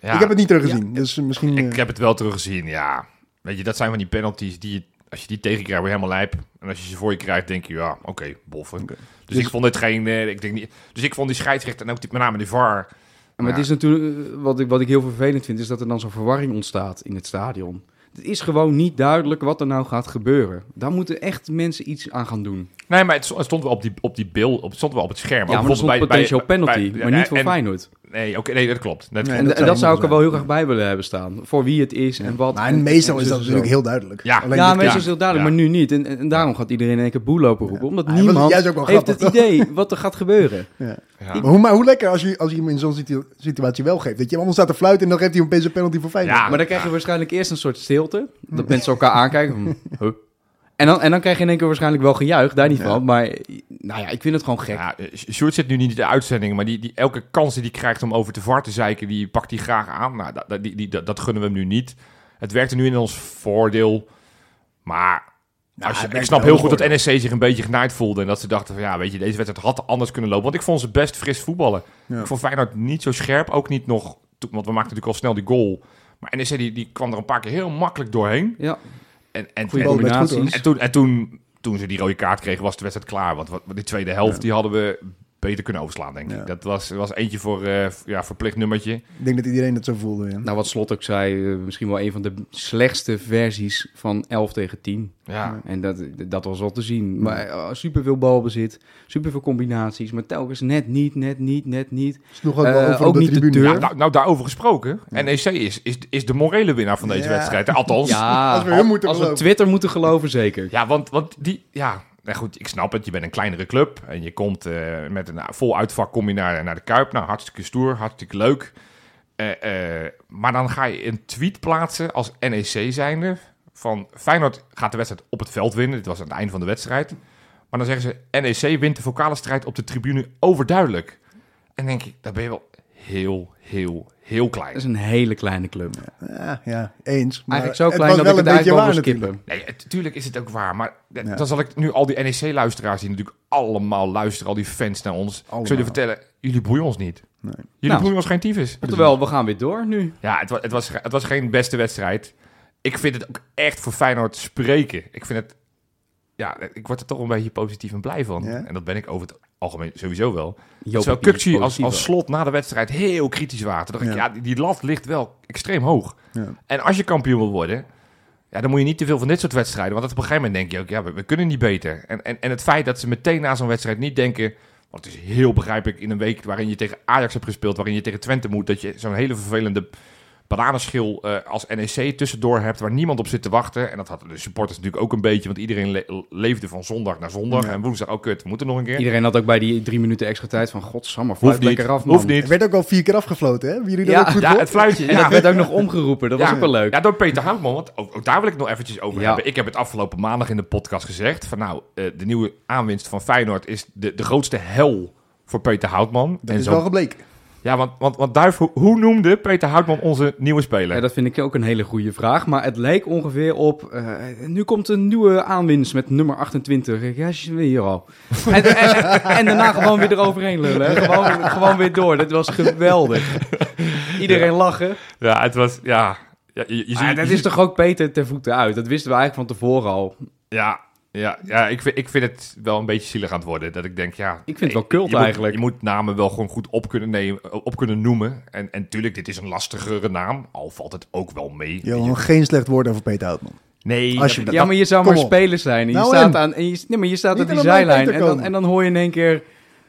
Ja.
Ik heb het niet teruggezien, dus misschien... eh,
Ik heb het wel teruggezien, ja. Weet je, dat zijn van die penalties die je, als je die tegenkrijgt, weer helemaal lijp. En als je ze voor je krijgt, denk je, ja, oké, boffen.
Oké.
Dus, ik vond het geen, eh, ik denk niet, dus ik vond die scheidsrechter en ook die, met name de VAR.
maar het is natuurlijk, eh, wat ik, wat ik heel vervelend vind, is dat er dan zo'n verwarring ontstaat in het stadion. Het is gewoon niet duidelijk wat er nou gaat gebeuren. Daar moeten echt mensen iets aan gaan doen.
Nee, maar het st- het stond wel op die, op die beeld, op, stond wel op het scherm.
Ja,
Ook
maar dat is een
bijvoorbeeld bij-
potential
bij-
penalty,
bij-
maar niet voor
en-
Feyenoord.
Nee, oké, nee, dat klopt. Dat
Nee,
klopt.
En,
dat
en
zou
dat zou ik er
moeten
wel heel graag bij willen hebben staan. Voor wie het is en wat.
maar
en-
meestal
en
is
zo en
dat
zo.
natuurlijk heel duidelijk.
Ja.
Alleen
Ja,
dit-
meestal
ja.
is het heel duidelijk,
Ja.
maar nu niet. En, en, en daarom gaat iedereen in één keer boel lopen roepen. Omdat
Ah, maar dat is
niemand
juist ook wel
heeft het
grappig,
idee wat er gaat gebeuren.
Ah,
ja.
Ja.
Maar, hoe, maar hoe lekker als je, als je hem in zo'n situ- situatie wel geeft. Dat je anders staat te fluiten en dan geeft hij opeens een penalty voor Feyenoord.
Ja.
Maar dan krijg je waarschijnlijk eerst een soort stilte. Dat mensen elkaar aankijken. van, huh? En dan, en dan krijg je in één keer waarschijnlijk wel gejuich, daar niet van. Maar nou ja, ik vind het gewoon gek.
Ja, eh, Sjoerd zit nu niet in de uitzending, maar die, die, elke kans die hij krijgt om over te VAR te zeiken, die pakt hij graag aan. Nou, dat, dat- die, die, dat, dat gunnen we hem nu niet. Het werkte nu in ons voordeel, maar als je,
Nou, het
ik
werkt
snap
wel
heel
in
goed dat
voordeel.
NSC zich een beetje genaaid voelde en dat ze dachten van ja, weet je, deze wedstrijd had anders kunnen lopen. Want ik vond ze best fris voetballen.
Ja.
Ik vond Feyenoord niet zo scherp, ook niet nog, to- want we maakten natuurlijk al snel die goal. Maar NSC die, die kwam er een paar keer heel makkelijk doorheen.
Ja,
En, en,
goede
en-
bal. werd goed, hoor.
combinaties.
en toen, en toen, toen ze die rode kaart kregen, was de wedstrijd klaar. Want wat, wat die tweede helft, die hadden we beter kunnen overslaan, denk ik.
Ja.
Dat was, was eentje voor eh, v- ja, verplicht nummertje.
Ik denk dat iedereen dat zo voelde. Ja.
Nou, wat Slot ook zei, eh, misschien wel een van de slechtste versies van 11 tegen 10.
Ja.
En dat, dat was wel te zien. Maar eh, superveel balbezit, superveel combinaties. Maar telkens net niet, net niet, net niet.
Sloeg ook
Eh,
wel over
ook
op de
niet de
tribune.
deur.
Ja, nou, nou, daarover gesproken. NEC is, is, is de morele winnaar van deze
Ja.
wedstrijd. Althans. Ja,
Ja,
Als we hun moeten
als we
geloven.
Twitter moeten geloven, zeker.
want, want die... Ja, nou goed, ik snap het. Je bent een kleinere club. En je komt eh, met een nou, vol uitvak kom je naar, naar de Kuip. Nou, hartstikke stoer. Hartstikke leuk. Eh, eh, maar dan ga je een tweet plaatsen als NEC zijnde. Van Feyenoord gaat de wedstrijd op het veld winnen. Dit was aan het einde van de wedstrijd. Maar dan zeggen ze NEC wint de vocale strijd op de tribune overduidelijk. En denk ik, daar ben je wel heel, heel, heel klein.
Dat is een hele kleine club.
Ja, ja, eens. Maar
nou, Eigenlijk zo
het
klein
was
dat ik
wel
het
een beetje
eigenlijk wel wil
waar natuurlijk.
skippen.
Nee, natuurlijk is het ook waar. Maar d-
Ja.
dan zal ik nu al die NEC-luisteraars, die natuurlijk allemaal luisteren, al die fans naar ons. Ik zal
Allemaal.
je vertellen, jullie boeien ons niet.
Nee.
Jullie
Nou.
boeien ons geen tyfus.
Oftewel, we gaan weer door nu.
Ja, het was, het, was, het was geen beste wedstrijd. Ik vind het ook echt voor Feyenoord spreken. Ik vind het... Ja, ik word er toch een beetje positief en blij van.
Ja?
En dat ben ik over het algemeen sowieso wel.
Joop
Terwijl
Papier is
Kukci als,
positief
als
wel.
slot na de wedstrijd heel kritisch waren. Toen dacht ik,
Ja.
ja, die, die lat ligt wel extreem hoog.
Ja.
En als je kampioen wil worden... Ja, dan moet je niet te veel van dit soort wedstrijden. Want op een gegeven moment denk je ook, ja, we, we kunnen niet beter. En, en, en het feit dat ze meteen na zo'n wedstrijd niet denken... Want het is heel begrijpelijk in een week waarin je tegen Ajax hebt gespeeld... waarin je tegen Twente moet, dat je zo'n hele vervelende bananenschil eh, als NEC tussendoor hebt... waar niemand op zit te wachten. En dat hadden de supporters natuurlijk ook een beetje... want iedereen le- leefde van zondag naar zondag.
Ja.
En woensdag, ook kut, we moeten nog een keer.
Iedereen had ook bij die drie minuten extra tijd van... Godsamme,
Hoeft
fluit
niet,
lekker af, man.
hoeft
Er
niet.
werd ook al vier keer afgefloten, hè? Wie jullie dat
Ja,
ook goed
Ja,
hoort?
het fluitje.
En dat
Ja,
werd ook nog omgeroepen. Dat was
Ja.
ook wel leuk.
Ja, door Peter Houtman. Want ook, ook daar wil ik nog eventjes over
Ja.
hebben. Ik heb het afgelopen maandag in de podcast gezegd. Van nou, eh, de nieuwe aanwinst van Feyenoord is de, de grootste hel voor Peter Houtman.
Dat is wel gebleken.
Ja, want, want, want Duif, hoe, hoe noemde Peter Houtman onze nieuwe speler?
Ja, dat vind ik ook een hele goede vraag. Maar het leek ongeveer op. eh, nu komt een nieuwe aanwinst met nummer 28. Ja, is weer hier al. En, en, en daarna gewoon weer eroverheen lullen. hè. Gewoon, gewoon weer door. Dat was geweldig. Iedereen lachen.
Ja, het was... Ja, ja, je, je ziet,
Maar Ah, dat
je
is
ziet-
toch ook Peter ten voeten uit. Dat wisten we eigenlijk van tevoren al.
Ja, ja, ja ik, vind, ik vind het wel een beetje zielig aan het worden. Dat ik denk, ja...
Ik vind het wel cult
je moet-
eigenlijk.
je moet namen wel gewoon goed op kunnen, nemen, op kunnen noemen. En, en tuurlijk, dit is een lastigere naam. Al valt het ook wel mee.
Johan, geen slecht woord over Peter Houtman.
Nee, dat-
Alsjeblieft.
Ja, maar je zou
Kom
maar
op.
speler zijn. En je
Nou,
staat,
en?
aan, en je, nee, maar je staat aan
Niet
die
aan de lijn
zijlijn.
Peter
En dan,
komen.
en dan hoor je in één keer.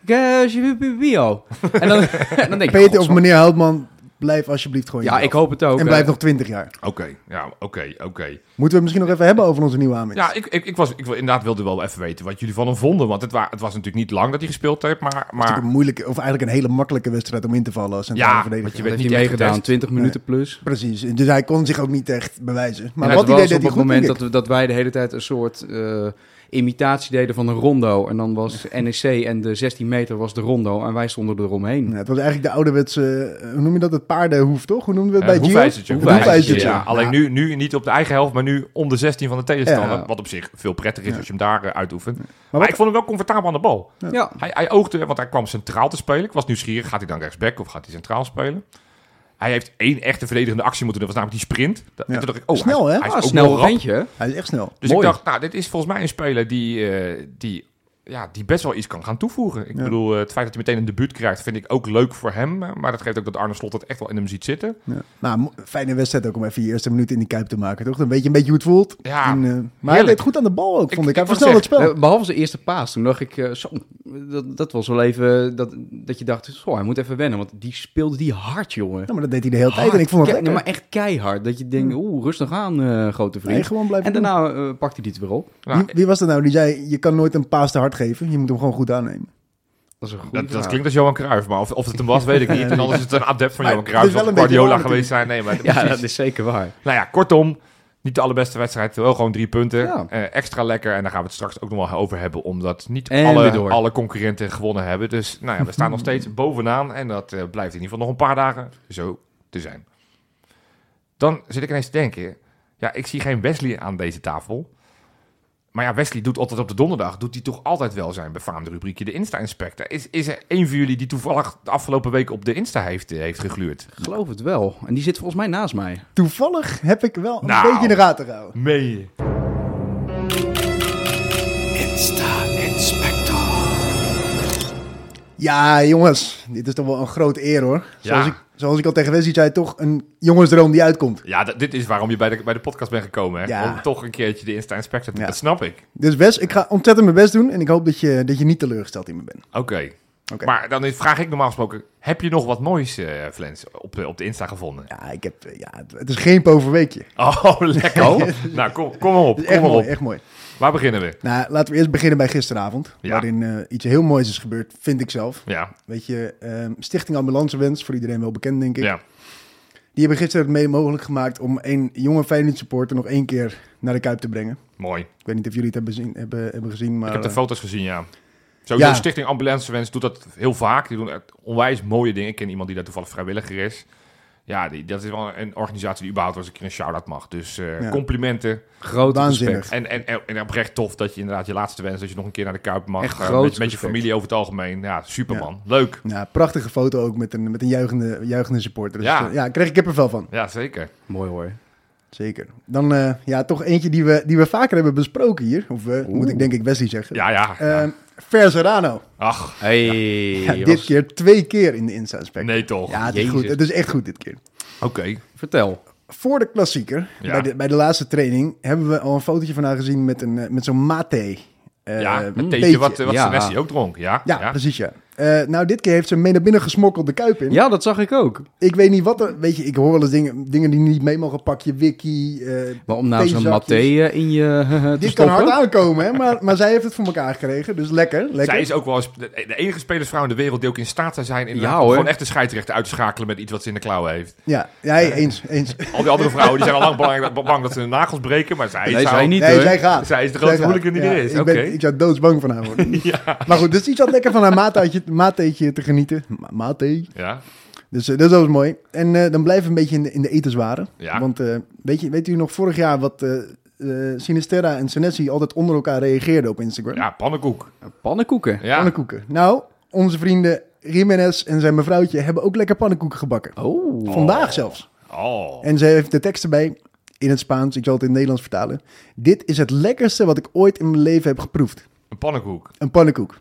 Ja, is weer- weer- weer al. En dan, en dan denk je.
Peter of
"Godzang."
meneer Houtman, Blijf alsjeblieft gewoon
Ja,
jezelf.
ik hoop het ook. eh,
En blijf nog 20 jaar.
Oké, ja, oké, oké.
Moeten we het misschien nog even hebben over onze nieuwe aanwinst?
Ja, ik, ik, ik, was, ik wil, inderdaad wilde wel even weten wat jullie van hem vonden. Want het, wa- het was natuurlijk niet lang dat hij gespeeld heeft, maar... maar
Het is natuurlijk een moeilijke, of eigenlijk een hele makkelijke wedstrijd om in te vallen als centrale
Ja,
verdediger.
want je
je
werd
heeft
niet
hij
echt
meegedaan,
getest.
20 minuten plus.
Precies, dus hij kon zich ook niet echt bewijzen. Maar
Maar het
wat hij
was
deed, deed
op
hij
het
goed,
moment
denk ik.
dat we, dat wij de hele tijd een soort eh, imitatie deden van een rondo. En dan was NEC en de 16 meter was de rondo en wij stonden eromheen.
Ja, het was eigenlijk de ouderwetse, eh, hoe noem je dat, het paardenhoef, toch? Hoe noemen we het
eh,
bij Gio?
hoefijzertje.
Hoefijzertje.
Hoefijzertje, Ja,
Ja.
alleen Nu, nu niet op de eigen helft, maar nu om de 16 van de tegenstander.
Ja.
Wat op zich veel prettiger is
Ja.
als je hem daar eh, uitoefent. Maar,
wat-
ik vond hem wel comfortabel aan de bal.
Ja.
Hij, hij oogde, want hij kwam centraal te spelen. Ik was nieuwsgierig, gaat hij dan rechtsback of gaat hij centraal spelen? Hij heeft één echte verdedigende actie moeten doen. Dat was namelijk die sprint. Dat,
Ja.
en toen dacht ik, oh,
Snel,
hij,
hè?
Hij is
Ah,
ook
snel
nog rap.
randje. hè?
Hij is echt snel.
Dus
Mooi.
ik dacht, nou, dit is volgens mij een speler die, eh, die, ja, die best wel iets kan gaan toevoegen. Ik
Ja.
bedoel, eh, het feit dat hij meteen een debuut krijgt, vind ik ook leuk voor hem. eh, Maar dat geeft ook dat Arne Slot het echt wel in hem ziet zitten.
Ja. Nou, mo- fijne wedstrijd ook om even je eerste minuut in die kuip te maken, toch? Dan weet je een beetje hoe het voelt.
Ja,
En, eh, maar hij
heerlijk.
deed goed aan de bal ook,
Ik-
vond
ik
ik. Hij
wou
versnelde het
zeggen,
spel.
Eh, Behalve zijn eerste paas, toen dacht ik, eh, zo, dat, dat was wel even eh, dat, dat je dacht, zo, hij moet even wennen, want die speelde die hard,
eh,
jongen.
Ja, maar dat deed hij de hele tijd en
Hard,
ik vond het
ke-
lekker.
maar echt keihard, dat je denkt, oeh, rustig aan, eh, grote vriend.
Nee, gewoon blijven
en daarna eh, pakte hij dit weer op.
doen.
Nou,
Wie, wie was dat nou die zei, je kan nooit een paas te hard geven. Je moet hem gewoon goed aannemen.
Dat is een goede
dat, dat
vraag.
klinkt als Johan Cruijff, maar of, of het hem was, weet ik niet. En anders is het een adept van
Maar
Johan
het
Cruijff.
is wel
Zal
een beetje
Guardiola
waar
geweest zijn. Nee, maar
Ja,
precies.
dat is zeker waar.
Nou ja, kortom, niet de allerbeste wedstrijd. Wel gewoon drie punten.
Ja.
Eh, extra lekker. En daar gaan we het straks ook nog wel over hebben. Omdat niet
En weer
alle,
door.
alle concurrenten gewonnen hebben. Dus nou ja, we staan nog steeds bovenaan. En dat eh, blijft in ieder geval nog een paar dagen zo te zijn. Dan zit ik ineens te denken. Ja, ik zie geen Wesley aan deze tafel. Maar ja, Wesley doet altijd op de donderdag. Doet hij toch altijd wel zijn befaamde rubriekje, de Insta-inspector. Is, is er één van jullie die toevallig de afgelopen week op de Insta heeft, eh, heeft gegluurd?
Ik geloof het wel. En die zit volgens mij naast mij.
Toevallig heb ik wel een
Nou.
beetje in de gaten gehouden.
Meen je?
Ja, jongens, dit is toch wel een groot eer hoor. Zoals,
Ja.
ik, zoals ik al tegen Wesley zei, toch een jongensdroom die uitkomt.
Ja, d- dit is waarom je bij de, bij de podcast bent gekomen. Hè?
Ja.
Om toch een keertje de Insta Inspector te
Ja.
Dat snap ik.
Dus Wes, ik ga ontzettend mijn best doen en ik hoop dat je, dat je niet teleurgesteld in me bent.
Oké.
Oké.
Maar dan is- vraag ik normaal gesproken: heb je nog wat moois, eh Flens, op, de- op de Insta gevonden?
Ja, ik heb, eh, ja het- het is geen poverweekje.
Oh, lekker. nou, kom, kom maar op.
Het is
Kom
echt
maar
mooi,
op.
echt mooi.
Waar beginnen we?
Nou, laten we eerst beginnen bij gisteravond,
Ja.
waarin eh, iets heel moois is gebeurd, vind ik zelf.
Ja.
Weet je, ehm, Stichting Ambulancewens, voor iedereen wel bekend denk ik.
ja.
Die hebben gisteren het mede mogelijk gemaakt om één jonge Feyenoord supporter nog één keer naar de Kuip te brengen.
Mooi.
Ik weet niet of jullie het hebben, zien, hebben, hebben gezien, maar...
ik heb de
eh,
foto's gezien, ja. Sowieso,
Ja.
Stichting Ambulancewens doet dat heel vaak. Die doen echt onwijs mooie dingen. Ik ken iemand die daar toevallig vrijwilliger is. Ja, die, dat is wel een organisatie die überhaupt wel eens een keer een shout-out mag. Dus eh,
Ja.
complimenten.
Groot
Waanzinnig.
respect.
En, en, en, en oprecht tof dat je inderdaad je laatste wens, dat je nog een keer naar de Kuip mag.
Echt
eh,
groot
met, met je
respect.
familie over het algemeen. Ja, superman. Leuk.
Ja, nou, prachtige foto ook met een, met een juichende, juichende supporter. Dus
Ja.
ja. ja, kreeg ik kippenvel van.
Ja, zeker.
Mooi hoor.
Zeker. Dan eh, ja, toch eentje die we, die we vaker hebben besproken hier. Of we, moet ik denk ik Wesley zeggen.
Ja, ja. ja.
Ehm, Verzerano.
Ach,
Hey,
Ja,
was-
dit keer twee keer in de Insta-inspect.
nee toch.
ja, het is,
Jezus.
goed. het is echt goed dit keer.
Oké.
vertel.
Voor de klassieker,
Ja.
bij, de, bij de laatste training, hebben we al een fotootje van haar gezien met, een, eh, met zo'n mate. eh,
ja, een theetje
theetje.
wat, eh, wat
Ja.
Senesi ook dronk. Ja,
Ja, precies ja. Eh, nou, dit keer heeft ze hem mee naar binnen gesmokkeld de kuip in.
Ja, dat zag ik ook.
Ik weet niet wat er... Weet je, ik hoor wel eens dingen, dingen die niet mee mogen. Pakje wiki, eh,
Maar om nou zo'n
theezakjes.
maté eh, in je te
Dit kan
stoppen?
hard aankomen, hè? Maar, maar zij heeft het voor elkaar gekregen. Dus lekker, lekker.
Zij is ook wel eens de, de enige spelersvrouw in de wereld die ook in staat zou zijn inderdaad,
Ja,
om
hoor.
gewoon echt de scheidsrechter uit te schakelen met iets wat ze in de klauwen heeft.
Ja, ja eens, eens.
Al die andere vrouwen die zijn al lang belang, bang dat ze hun nagels breken, maar zij,
Nee,
zou-
zij niet
Nee,
hoor.
zij gaat.
Zij is de grootste
Zij gaat.
hooligan die er is.
Ik,
Oké.
ben, ik zou doodsbang van haar worden. Maar goed, dus die zat lekker van haar mateetje, mateetje te genieten. Ma- Mate.
Ja.
Dus eh, dat was mooi. En eh, dan blijven we een beetje in de, in de etenswaren.
Ja.
Want eh, weet, je, weet u nog vorig jaar wat eh eh, Sinisterra en Senesi altijd onder elkaar reageerden op Instagram?
ja, pannenkoek.
Pannenkoeken.
Ja.
Pannenkoeken. Nou, onze vrienden Jiménez en zijn mevrouwtje hebben ook lekker pannenkoeken gebakken.
Oh.
Vandaag zelfs.
Oh.
En ze heeft de tekst erbij in het Spaans. Ik zal het in het Nederlands vertalen. Dit is het lekkerste wat ik ooit in mijn leven heb geproefd.
Een pannenkoek.
Een pannenkoek.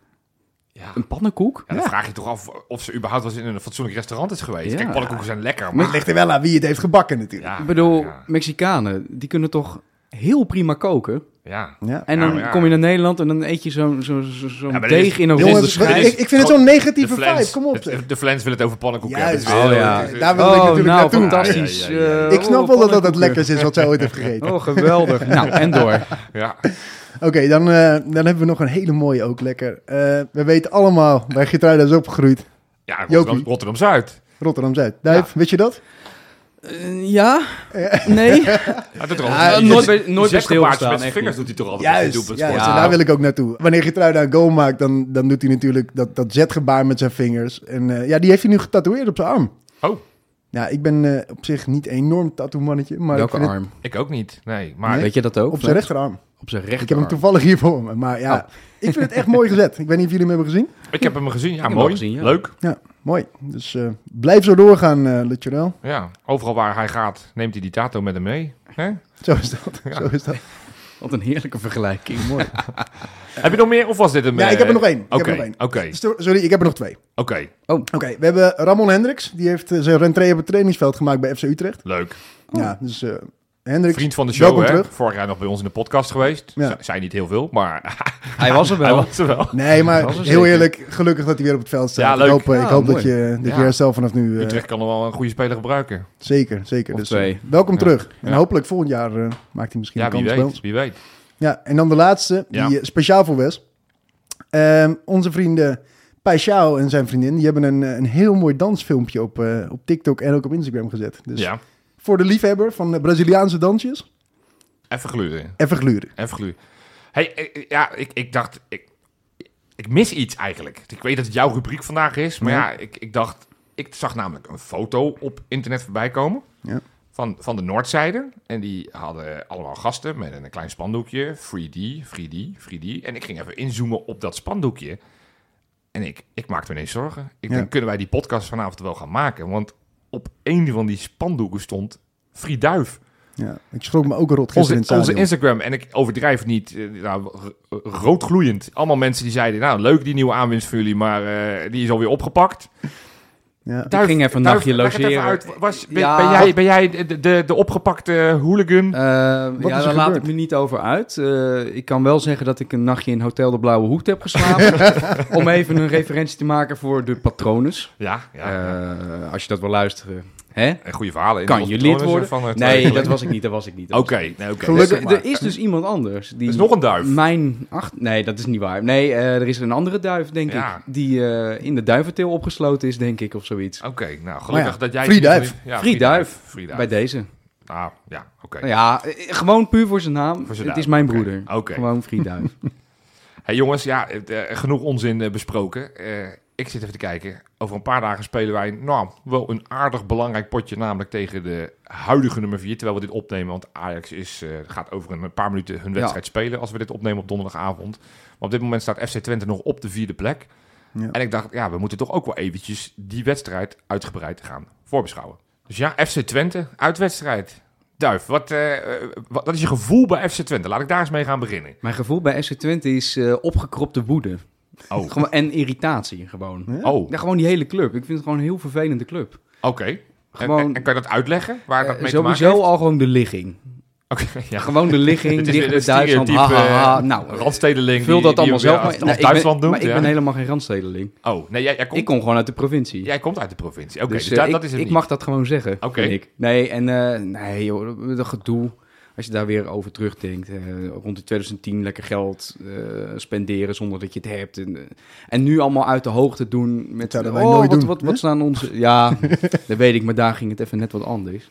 Ja.
Een pannenkoek?
Ja, dan vraag je toch af of ze überhaupt wel eens in een fatsoenlijk restaurant is geweest.
Ja.
Kijk, pannenkoeken zijn lekker,
Maar
maar...
het ligt er wel aan wie het heeft gebakken natuurlijk.
Ja,
Ik bedoel,
ja.
Mexicanen, die kunnen toch heel prima koken.
Ja.
Ja.
En
Ja,
dan
maar Nou ja.
kom je naar Nederland en dan eet je zo'n zo, zo, zo'n
Ja, maar dit is-
deeg in een
dit
ronde
is-
Jongens,
dit
schijf.
is- Oh,
ik, ik vind het zo'n negatieve
De Flens-
vibe. Kom op. zeg.
De, de Flens wil het over pannenkoeken
Juist.
hebben. dus-
Oh, ja.
Het is-
Daar wil ik
Oh,
natuurlijk
nou,
naartoe.
fantastisch.
Ja, ja, ja, ja.
eh,
Ik snap
oh,
wel dat dat het
pannenkoeken.
lekkers is wat zij ooit heeft gegeten.
Oh, geweldig. nou, en door.
Ja.
Oké, dan, eh, dan hebben we nog een hele mooie ook lekker. Eh, we weten allemaal waar Gertruida is opgegroeid.
Ja, Rotterdam,
Jopie.
Rotterdam Zuid.
Rotterdam-Zuid. Duif, weet je dat?
Eh, ja? Nee?
Ja, dat
Ja,
die-
nooit bij- nooit
die- die
bij
zetkapaartjes
stilgestaan,
Met zijn
echt
vingers
niet.
doet hij toch altijd.
Juist,
op het
juist,
doelpunt.
en daar wil ik ook naartoe. Wanneer Gertruida een goal maakt, dan, dan doet hij natuurlijk dat, dat zetgebaar met zijn vingers. En eh, ja, die heeft hij nu getatoeëerd op zijn arm.
Oh.
Ja, ik ben eh, op zich niet een enorm tattoo-mannetje, maar ik
Welke
vind het-
arm?
Ik ook niet. Nee, maar
Nee?
Weet je dat ook?
op zijn rechterarm.
Op zijn
Ik heb hem
rechterarm.
toevallig hier voor me, maar ja, ik vind het echt mooi gezet. Ik weet niet of jullie hem hebben gezien.
ik heb hem gezien. Ja,
hem
mooi.
wel gezien, ja.
Leuk.
Mooi. Dus eh, blijf zo doorgaan, eh Lutjerel.
Ja. Overal waar hij gaat, neemt hij die tato met hem mee. Hè?
Zo is dat. Zo is dat.
Wat een heerlijke vergelijking.
Mooi.
Heb je nog meer of was dit een...
Ja, ik heb er nog één. Ik heb
Oké,
er nog één.
oké,
Sto- Sorry, ik heb er nog twee. Oké,
oké.
we hebben Ramon Hendricks. Die heeft eh, zijn rentree op het trainingsveld gemaakt bij FC Utrecht.
Leuk.
Ja, dus eh Hendricks.
Oh. Vriend van de show,
welkom
hè?
terug.
Vorig jaar nog bij ons in de podcast geweest.
Ja.
Zij Zijn niet heel veel, maar
Hij was er
hij
wel.
was er wel.
Nee, maar
Dat is
heel
wel zeker.
eerlijk, gelukkig dat hij weer op het veld staat.
Ja, leuk.
Ik hoop, eh,
Ja,
ik hoop dat
mooi.
je, dat
Ja.
je herstel vanaf nu... eh,
Utrecht kan er wel een goede speler gebruiken.
zeker, zeker.
Of
Dus,
twee.
eh, welkom
Ja.
terug. En
Ja.
hopelijk volgend jaar eh, maakt hij misschien
Ja,
een
wie
kans bij
weet,
ons.
wie weet.
Ja, en dan de laatste,
Ja.
die eh, speciaal voor Wes. Ehm, onze vrienden Paixao en zijn vriendin, die hebben een, eh, een heel mooi dansfilmpje op, eh, op TikTok en ook op Instagram gezet. Dus
Ja.
voor de liefhebber van eh, Braziliaanse dansjes,
Even gluren.
even gluren.
Even gluren. Hey, eh, ja, ik, ik dacht... Ik, ik mis iets eigenlijk. Ik weet dat het jouw rubriek vandaag is, maar ja, ik, ik dacht... Ik zag namelijk een foto op internet voorbij komen.
Ja.
Van, van de noordzijde. En die hadden allemaal gasten met een klein spandoekje. 3D, 3D, 3D. En ik ging even inzoomen op dat spandoekje. En ik, ik maakte me ineens zorgen. Ik
Ja.
denk, kunnen wij die podcast vanavond wel gaan maken? Want op een van die spandoeken stond Frieduif.
Ja, ik schrok me ook rot gisteren
Onze,
in het stadion.
onze Instagram, en ik overdrijf het niet, eh, nou, r- r- roodgloeiend. Allemaal mensen die zeiden, nou leuk die nieuwe aanwinst voor jullie, maar eh, die is alweer opgepakt.
ja.
Duif,
ging even een
Duif,
nachtje
leg het even
logeren.
uit. Was, ben,
Ja.
ben jij, ben jij de, de, de opgepakte hooligan?
Eh,
Wat
ja,
is er
daar laat
gebeurd?
ik me niet over uit. Eh, ik kan wel zeggen dat ik een nachtje in Hotel de Blauwe Hoed heb geslapen. om even een referentie te maken voor de patrones.
ja, ja.
Eh, als je dat wil luisteren. Hè?
En goede verhalen. in
Kan
de
jullie het
patronen
worden?
Van, eh, twee
Nee,
weken
dat
geleden.
was ik niet. Dat was ik niet. dat was
Oké, nee, oké.
Gelukkig-
Zeg
Er-
maar.
Er is dus iemand anders. Die
Er is nog een duif.
Mijn acht... Nee, dat is niet waar. Nee, eh, er is een andere duif, denk
Ja.
ik. Die eh, in de duiventeel opgesloten is, denk ik, of zoiets.
Oké, nou gelukkig
ja,
dat jij...
Free Duif.
Ja,
Oh Free Duif.
Free Duif.
Bij deze.
Ah, ja, oké.
Nou Ja, eh, gewoon puur voor zijn naam.
Voor zijn
Het
duif.
is mijn
Oké,
broeder.
oké.
Gewoon Frieduif.
Hey jongens, ja, het, eh, genoeg onzin eh, besproken. Eh, ik zit even te kijken. Over een paar dagen spelen wij nou, wel een aardig belangrijk potje, namelijk tegen de huidige nummer 4. Terwijl we dit opnemen, want Ajax is, eh, gaat over een paar minuten hun wedstrijd spelen als we dit opnemen op donderdagavond. Maar op dit moment staat FC Twente nog op de vierde plek.
Ja.
En ik dacht, ja, we moeten toch ook wel eventjes die wedstrijd uitgebreid gaan voorbeschouwen. Dus ja, FC Twente, uitwedstrijd. Duif, wat, eh, eh, wat, wat is je gevoel bij FC Twente? Laat ik daar eens mee gaan beginnen.
mijn gevoel bij FC Twente is eh, opgekropte woede.
Oh,
Gewoon, en irritatie gewoon.
oh.
Ja, gewoon die hele club. Ik vind het gewoon een heel vervelende club.
Oké.
Gewoon-
en, en, en kan je dat uitleggen? Waar dat
Eh,
mee te
sowieso
maken
al gewoon de ligging.
heeft? Oké, ja.
Gewoon de ligging,
Het is
dicht bij
weer een
Duitsland.
stereotype
Ha, ha, ha.
eh,
Nou, eh,
randstedeling.
vul
die-
dat
die
allemaal
hem
zelf.
weer als-
maar-
als
nee, ik ben-
Duitsland noemt,
Maar ik
ja.
ben helemaal geen randstedeling.
Oh, nee, jij, jij, komt,
Ik kom gewoon uit de provincie.
jij komt uit de provincie. Oké,
dus
dus,
eh,
dat,
ik,
dat is het
ik
niet.
mag dat gewoon zeggen.
Oké.
vind ik. Nee, en eh, nee, joh, dat gedoe. Als je daar weer over terugdenkt. eh, rond de 2010 lekker geld eh, spenderen zonder dat je het hebt. En, eh, en nu allemaal uit de hoogte doen. Met,
zouden wij
oh,
nooit
wat,
doen,
Wat,
hè?
wat staan onze. Ja, dat weet ik, maar daar ging het even net wat anders.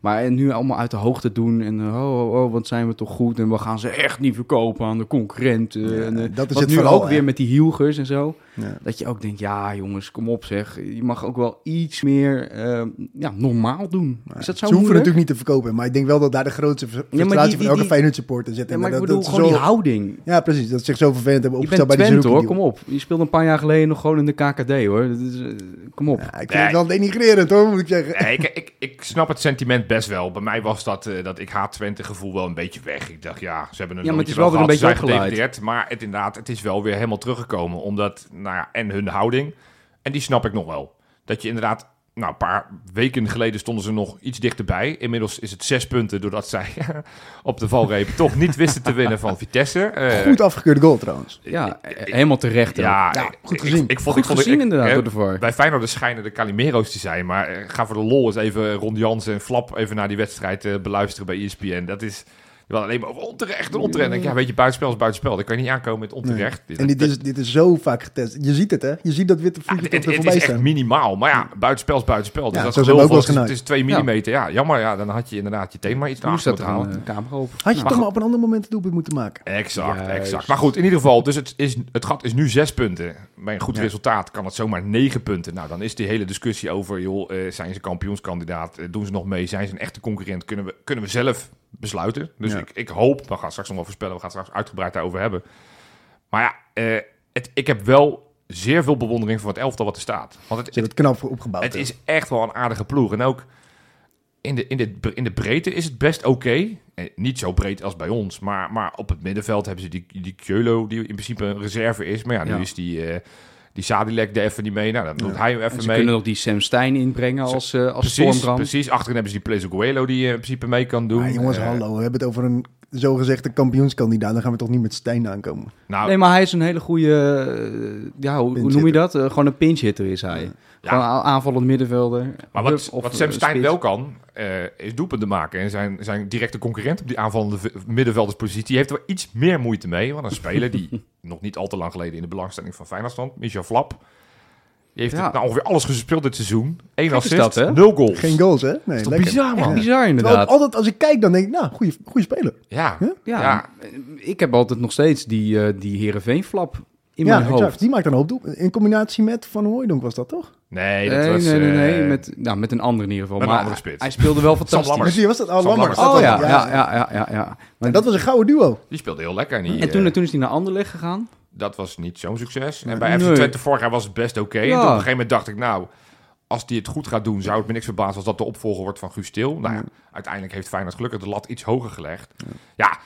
Maar eh, nu allemaal uit de hoogte doen en eh, oh, oh, oh, wat zijn we toch goed en we gaan ze echt niet verkopen aan de concurrenten.
Ja,
en, eh,
dat is
wat
het
nu
vooral,
ook
hè?
weer met die hielgers en zo.
Ja.
Dat je ook denkt, ja jongens, kom op zeg. Je mag ook wel iets meer ehm, ja, normaal doen. Is dat zo
Ze hoeven
moeilijk?
natuurlijk niet te verkopen, maar ik denk wel dat daar de grootste fr-
die-
frustratie
die-
van elke
die-
Feyenoord supporter zit.
Ja,
En
maar ik
dat-
bedoel
dat
gewoon
ze
die
zo-
houding.
Ja, precies. Dat ze zich zo vervelend hebben
Je
opgesteld
bent
bij de
Twente hoor,
Zerouki
kom op. Je speelde een paar jaar geleden nog gewoon in de KKD hoor. Dat is, eh, kom op.
Ja, ik vind het wel denigrerend hoor, moet ik eh, zeggen.
Nee, ik, ik, ik snap het sentiment best wel. Bij mij was dat, eh, dat ik haat Twente gevoel wel een beetje weg. Ik dacht, ja, ze hebben een
Ja, maar het is
loodje
wel weer een
gehad,
beetje
ze zijn
opgeleid.
gedegradeerd, Maar het, inderdaad, het is wel weer helemaal teruggekomen. Omdat, nou ja, en hun houding. En die snap ik nog wel. Dat je inderdaad nou, een paar weken geleden stonden ze nog iets dichterbij. Inmiddels is het zes punten doordat zij op de valreep toch niet wisten te winnen van Vitesse. Eh,
Goed afgekeurde goal trouwens.
Ja, helemaal terecht. ook.
Ja,
Ja,
ik-
goed
ik-
gezien.
Ik, ik vond,
Goed
ik vond, ik-
gezien inderdaad
eh,
door de VAR.
Bij Feyenoord schijnen de Calimero's te zijn. Maar eh, ga voor de lol eens even Ron Jans en Flap even naar die wedstrijd eh, beluisteren bij ESPN. Dat is wel alleen maar over onterecht en onterecht. Dan denk ik, Ja, weet je, buitenspel is buitenspel. Daar kan je niet aankomen met onterecht.
En dit is, dit is zo vaak getest. Je ziet het, hè? Je ziet dat witte
Ja,
voetje
het,
toch er
het is
voorbij
echt
staan.
minimaal. Maar ja, buitenspel is buitenspel. Dus
Ja,
dat
zo
is
zijn we ook wel eens
Het
genaaid.
is 2 mm. Ja. jammer. Ja, dan had je inderdaad je thema iets naar
Hoe
achter
staat
moeten
er
halen.
aan
eh?
de camera Nou, op?
Had je
Maar
toch
goed.
maar op een ander moment het doelpunt moeten maken.
Exact,
Juist.
exact. Maar goed, in ieder geval, dus het, is, het gat is nu zes punten. Bij een goed
Ja.
resultaat kan het zomaar negen punten. Nou, dan is die hele discussie over, joh, eh, zijn ze kampioenskandidaat? Eh, doen ze nog mee? Zijn ze een echte concurrent? Kunnen we, kunnen we zelf besluiten? Dus
Ja.
ik, ik hoop, we gaan straks nog wel voorspellen, we gaan het straks uitgebreid daarover hebben. Maar ja, eh, het, ik heb wel zeer veel bewondering voor het elftal wat er staat. Want het,
Ze hebben het knap voor opgebouwd.
het
hè.
is echt wel een aardige ploeg. En ook in de, in de, in de breedte is het best oké. Eh, Niet zo breed als bij ons. Maar, maar op het middenveld hebben ze die, die Keulo, die in principe een reserve is. Maar ja, nu
Ja.
is die, eh die Sadilek er even niet mee. Nou, dan doet hij hem
En
even
Ze
mee.
kunnen nog die Sam Stein inbrengen
Ze-
als, eh als
precies,
stormram.
precies. Achterin hebben ze die Plezo Coelho die eh, in principe mee kan doen.
Maar jongens,
Eh,
hallo. We hebben het over een zogezegde kampioenskandidaat. Dan gaan we toch niet met Stijn aankomen.
Nou,
Nee, maar hij is een hele goede, eh, ja, hoe, hoe noem je
Pinch-hitter.
dat? Eh, gewoon een pinch-hitter is hij. Gewoon een aanvallend middenvelder.
maar wat,
Of- of,
wat
eh,
Sam Stein
spits.
wel kan, eh, is doelpunten maken. En zijn, zijn directe concurrent op die aanvallende v- middenvelderspositie heeft er wel iets meer moeite mee. Want een speler die nog niet al te lang geleden in de belangstelling van Feyenoord stond, Michel Flap. Die heeft
Ja.
nou ongeveer alles gespeeld dit seizoen. Eén
Gek is
assist,
dat, hè?
nul goals.
Geen goals, hè? Nee,
toch
lekker.
bizar, man?
Ja.
Bizar
Terwijl
inderdaad.
altijd als ik kijk, dan denk ik, nou, goede speler.
Ja.
Ja, eh,
Ja.
ik heb altijd nog steeds die, eh die Heerenveen-flap in
ja,
mijn hoofd.
Die maakt dan een hoop doel. In combinatie met Van Hooijdonk was dat toch?
Nee,
Nee,
dat
nee,
was...
nee, nee,
eh,
Met, nou, met een ander in ieder geval.
met een
maar
andere
hij-
spits.
Hij speelde wel
Lammers.
fantastisch.
Met wie was dat? Oh,
Sam
Lammers.
Lammers.
dat
Oh ja,
was-
ja, ja, ja, ja. ja. Maar-
Dat was een gouden duo.
Die speelde heel lekker. En, die,
en toen,
eh,
toen is hij naar Anderlecht gegaan.
dat was niet zo'n succes. En bij FC
Nee.
Twente vorig jaar was het best oké. En
Ja.
toen op een gegeven moment dacht ik, nou, als die het goed gaat doen, zou het me niks verbazen als dat de opvolger wordt van Guus Til. Nou ja, uiteindelijk heeft Feyenoord gelukkig de lat iets hoger gelegd. Ja,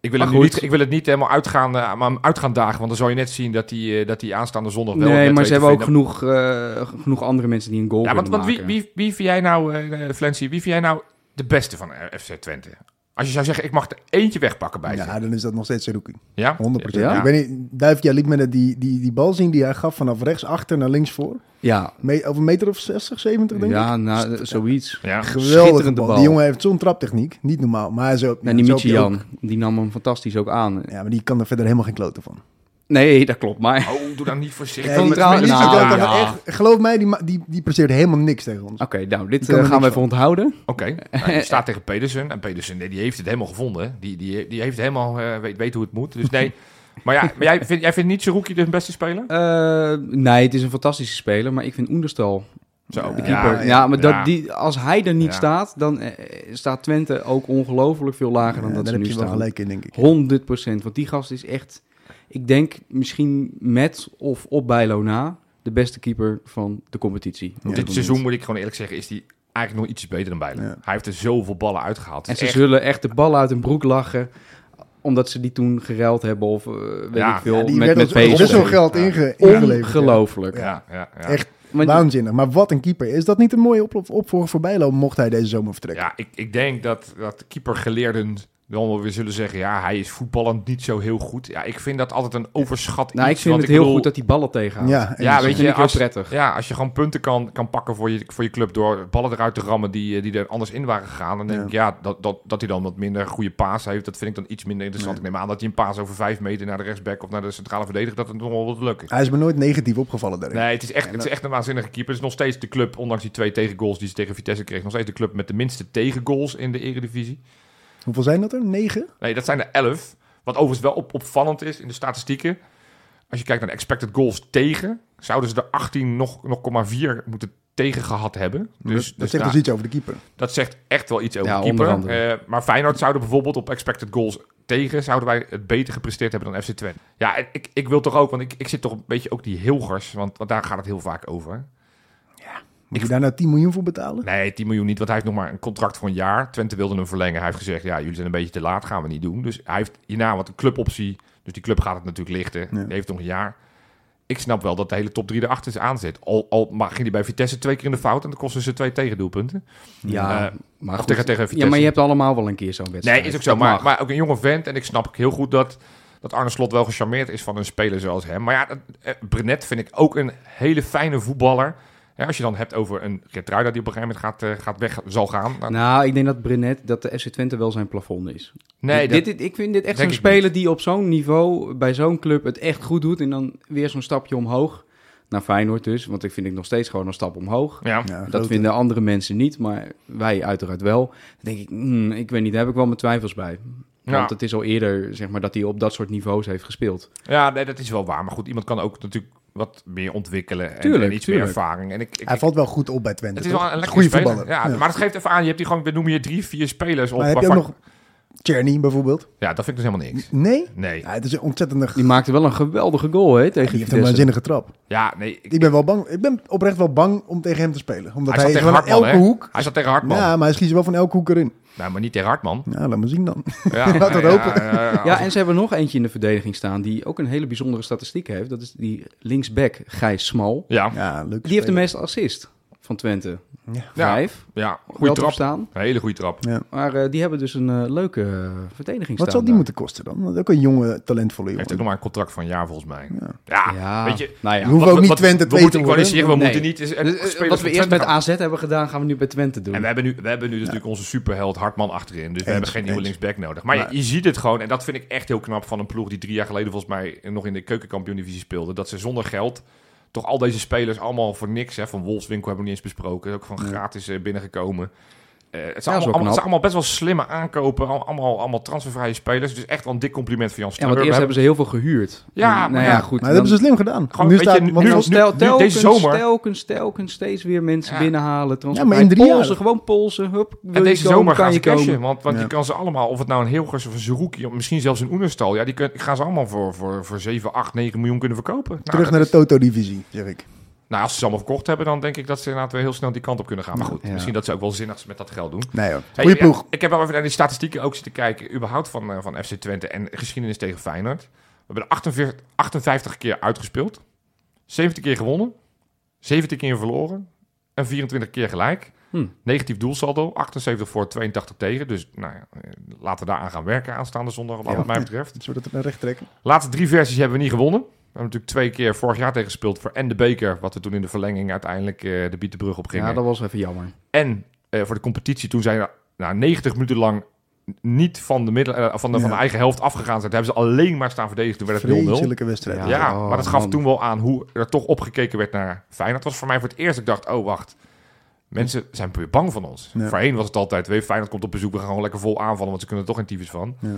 ik, wil
Maar
het nu
goed.
niet, ik wil het niet helemaal uitgaan, eh, maar hem uitgaan dagen, want dan zal je net zien dat die, eh, dat die aanstaande zondag wel...
nee,
net
maar
weet
ze
te
hebben ook
vinden.
genoeg, eh, genoeg andere mensen die een goal
Ja, want,
kunnen
want wie,
maken.
wie, wie vind jij nou, eh Flancy, wie vind jij nou de beste van eh, FC Twente? Als je zou zeggen, ik mag er eentje wegpakken bij ze.
Ja, dan is dat nog steeds Seruki. 100%.
Ja? 100%.
Ja.
Ik weet niet, Duif, jij liet me net die, die, die bal zien die hij gaf vanaf rechts achter naar links voor.
Ja,
Me, over een meter of 60, 70 denk ik.
ja nou, eh, zoiets.
Ja.
Geweldige
schitterende
bal.
bal.
Die jongen heeft zo'n traptechniek. Niet normaal. Maar hij is ook...
En die
zo heb je
Michi
ook-
Jan, die nam hem fantastisch ook aan.
Ja, maar die kan er verder helemaal geen kloten van.
Nee, dat klopt. Maar
Oh, doe dan niet voorzichtig.
vond
die-
het trouwens-
die- die-
Nou,
die- die-
ja.
echt- Geloof mij, die, ma- die, die presteert helemaal niks tegen ons.
oké, nou, dit
kan
eh,
er
gaan we
niks
even onthouden.
Oké, nou, die staat tegen Pedersen. En Pedersen, nee, die heeft het helemaal gevonden. hè. Die, die, die heeft helemaal, eh, weet, weet hoe het moet. Dus nee. maar ja, maar jij, vindt, jij vindt niet Zerouki de beste speler?
Eh, nee, het is een fantastische speler, maar ik vind Oenderstal,
Zo,
de keeper. Ja, maar
ja.
Dat, die, als hij er niet
Ja.
staat, dan eh, staat Twente ook ongelooflijk veel lager dan
Ja,
dat
daar
ze nu
heb je wel
staan.
gelijk in, denk ik.
100 Want die gast is echt, ik denk misschien met of op Bijlo na, de beste keeper van de competitie. op
Dit
moment.
seizoen moet ik gewoon eerlijk zeggen, is die eigenlijk nog ietsjes beter dan Bijlen.
Ja.
Hij heeft er zoveel ballen uitgehaald. Het
En
is
ze
echt-
zullen echt de bal uit hun broek lachen omdat ze die toen gereld hebben of eh, weet
Ja.
ik veel,
Ja, die
met,
werd
met
ons ook
PSV.
best wel geld
Ja.
inge ingeleverd. ja.
Ongelooflijk.
ja, ja, ja.
Echt
Want-
waanzinnig. Maar wat een keeper. Is dat niet een mooie op opvolger voor Bijlo, mocht hij deze zomer vertrekken?
ja ik, ik denk dat, dat keepergeleerden dan wel weer zullen zeggen... ja, hij is voetballend niet zo heel goed. Ja, ik vind dat altijd een overschat
Nou, ik
iets,
vind
want
het heel
bedoel-
goed dat die ballen tegenhoudt.
Ja, en-
Ja,
dat
weet
vind
je,
ik heel
als,
prettig.
Ja, als je gewoon punten kan, kan pakken voor je, voor je club door ballen eruit te rammen die, eh, die er anders in waren gegaan, dan denk
Ja.
ik ja, dat, dat, dat hij dan wat minder goede paas heeft, dat vind ik dan iets minder interessant. Ik neem aan dat hij een paas over vijf meter naar de rechtsback of naar de centrale verdediger, dat het nog wel wat lukt.
Hij is me nooit negatief opgevallen daarin.
Nee, het is, echt, het is echt een waanzinnige keeper. Het is nog steeds de club, ondanks die twee tegengoals die ze tegen Vitesse kreeg, nog steeds de club met de minste tegengoals in de eredivisie.
Hoeveel zijn dat er? Negen?
Nee, dat zijn er 11. Wat overigens wel op, opvallend is in de statistieken. Als je kijkt naar de expected goals tegen, zouden ze er 18 nog, nog 0,4 moeten tegen gehad hebben. Dus,
dat
dus
zegt
nou,
dus iets over de keeper.
dat zegt echt wel iets over
Ja,
de keeper.
onder andere.
Eh, maar Feyenoord zouden bijvoorbeeld op expected goals tegen, zouden wij het beter gepresteerd hebben dan FC Twente. Ja, en ik, ik wil toch ook, want ik, ik zit toch een beetje ook die Hilgers, want, want daar gaat het heel vaak over.
Moet je daar nou 10 miljoen voor betalen?
Nee, 10 miljoen niet, want hij heeft nog maar een contract voor een jaar. Twente wilde hem verlengen. Hij heeft gezegd, ja, jullie zijn een beetje te laat, gaan we niet doen. Dus hij heeft hierna wat een cluboptie. Dus die club gaat het natuurlijk lichten.
Ja.
Die heeft nog een jaar. ik snap wel dat de hele top 3 erachter is aanzet. Al, al maar ging die bij Vitesse twee keer in de fout en dan kosten ze twee tegendoelpunten.
Ja,
Eh,
maar
of
goed.
tegen- tegen
ja,
Vitesse.
maar je hebt allemaal wel een keer zo'n wedstrijd.
Nee, is ook zo.
Dat
Maar,
mag.
maar ook een jonge vent. En ik snap heel goed dat, dat Arne Slot wel gecharmeerd is van een speler zoals hem. Maar ja, dat, eh, Brenet vind ik ook een hele fijne voetballer. Ja, als je dan hebt over een Gertruida die op een gegeven moment gaat, eh, gaat weg zal gaan. Nou,
Nou, ik denk dat Brenet, dat de FC Twente wel zijn plafond is.
nee,
dit,
dat-
dit- ik vind dit echt zo'n
denk ik
speler die op zo'n niveau bij zo'n club het echt goed doet. En dan weer zo'n stapje omhoog. Naar Feyenoord dus, want ik vind het nog steeds gewoon een stap omhoog.
ja.
Ja,
dat
grote-
vinden andere mensen niet, maar wij uiteraard wel. Dan denk ik, hmm, ik weet niet, daar heb ik wel mijn twijfels bij. Want
Ja.
het is al eerder, zeg maar, dat hij op dat soort niveaus heeft gespeeld.
ja, nee, dat is wel waar. Maar goed, iemand kan ook natuurlijk wat meer ontwikkelen. En,
Tuurlijk,
en iets
tuurlijk.
meer ervaring. En ik, ik,
Hij
ik-
valt wel goed op bij Twente.
het is
toch?
wel een lekkere
goede
speler.
voetballer.
Ja,
Ja.
Maar dat geeft even aan. Je hebt die gewoon, we noemen je drie, vier spelers op.
Maar heb je ook
waarvan-
nog Cherny bijvoorbeeld?
Ja, dat vind ik dus helemaal niks.
Nee?
Nee.
Ja, het is een ontzettende...
Die maakte wel een geweldige goal, hè, tegen
die heeft een
Vitesse.
waanzinnige trap.
Ja, nee. Ik,
Ik ben wel bang. Ik ben oprecht wel bang om tegen hem te spelen. Omdat
hij
hij,
zat tegen
gewoon
Hartman,
elke
hè?
hoek...
Hij zat tegen Hartman.
Ja, maar hij schiet ze wel van elke hoek erin.
Nou, maar niet tegen Hartman.
Ja, laat maar zien dan.
Ja,
Laat dat
ja,
hopen.
ja, ja.
Ja, en ze hebben nog eentje in de verdediging staan die ook een hele bijzondere statistiek heeft. Dat is die linksback Gijs Smal.
Ja,
Ja, leuk.
Die heeft de meeste assist van Twente.
Ja.
Vijf.
ja. goede
Wel
trap.
staan.
Een hele goede trap.
Maar eh, die hebben dus een eh, leuke eh, verdediging
Wat
staan
zal die
daar.
moeten kosten dan? Dat is ook een jonge, talentvolle
Heeft
jongen.
ook nog maar een contract van een jaar volgens mij. Ja,
Ja,
Ah, weet je.
nou ja.
Hoe- hoeven ook niet Twente
we
twee
moeten, ik
te
wou net
worden.
zeggen, we
Nee.
moeten niet eens- eh,
Dus, eh,
spelers
wat
van
we eerst met
Twente gaan-
AZ hebben gedaan, gaan we nu bij Twente doen.
En we hebben nu, we hebben nu dus natuurlijk onze superheld Hartman achterin. Dus we hebben geen nieuwe
eens.
linksback nodig. Maar je-
Maar-
je, ziet het gewoon. En dat vind ik echt heel knap van een ploeg die drie jaar geleden volgens mij nog in de keukenkampioen-divisie speelde. Dat ze zonder geld toch al deze spelers allemaal voor niks. Hè, van Wolfswinkel hebben we niet eens besproken. Is Ook van gratis eh, binnengekomen. Eh, het, zijn
wel
allemaal, allemaal-
knap.
het zijn allemaal best wel slimme aankopen. Al- Allemaal, allemaal transfervrije spelers. Dus echt wel een dik compliment van Jan
Ja,
Steur.
want eerst hebben ze heel veel gehuurd.
Ja,
En,
maar
nou
ja.
ja, goed.
Maar dat hebben
dan-
ze slim gedaan.
Gewoon,
nu
weet je,
staat, want
nu-
als-
Stel- telkens,
deze zomer-
telkens, telkens steeds weer mensen
Ja.
binnenhalen. Transfer-
Ja, maar in drie
Polsen,
jaar.
gewoon Polsen. Hup, wil
En
je
deze
komen,
zomer
kan
gaan ze
je komen.
cashen, want, want
Ja.
je kan ze allemaal, of het nou een Hilgers of een Zerouki, of misschien zelfs een Oenerstal, ja, die kun, gaan ze allemaal voor, voor, voor 7, 8, 9 miljoen kunnen verkopen. Nou,
terug
dat
naar de
is-
Toto-divisie, zeg ik.
Nou, als ze ze allemaal verkocht hebben, dan denk ik dat ze inderdaad weer heel snel die kant op kunnen gaan. Maar goed,
Ja.
misschien dat ze ook wel zinnig met dat geld doen.
Nee hoor.
Hey,
Goeie
ja,
ploeg.
ik heb wel even naar die statistieken ook zitten kijken, überhaupt van, eh, van FC Twente en geschiedenis tegen Feyenoord. We hebben er 48 58 keer uitgespeeld, 70 keer gewonnen, 70 keer verloren en 24 keer gelijk.
Hm.
Negatief doelsaldo, 78 voor, 82 tegen. Dus nou ja, eh, laten we daaraan gaan werken aanstaande zondag, wat
Ja.
mij betreft.
Zullen we dat recht trekken?
Laatste drie versies hebben we niet gewonnen. We hebben natuurlijk twee keer vorig jaar tegen gespeeld voor en de beker, wat we toen in de verlenging uiteindelijk eh, de Bietenbrug op gingen.
Ja, dat was even jammer.
En eh, voor de competitie, toen zijn we nou, 90 minuten lang niet van de, middel, eh, van, de, van de
Ja.
eigen helft afgegaan zijn. Toen hebben ze alleen maar staan verdedigen. Toen werd het 0-0.
Vreselijke wedstrijd.
Ja.
Ja,
Oh,
Ah,
maar dat gaf
man.
toen wel aan hoe er toch opgekeken werd naar Feyenoord. Dat was voor mij voor het eerst. Ik dacht, oh wacht, mensen zijn weer bang van ons.
Ja.
Voorheen was het altijd, weet je, Feyenoord komt op bezoek, we gaan gewoon lekker vol aanvallen, want ze kunnen er toch geen tyfus van.
Ja.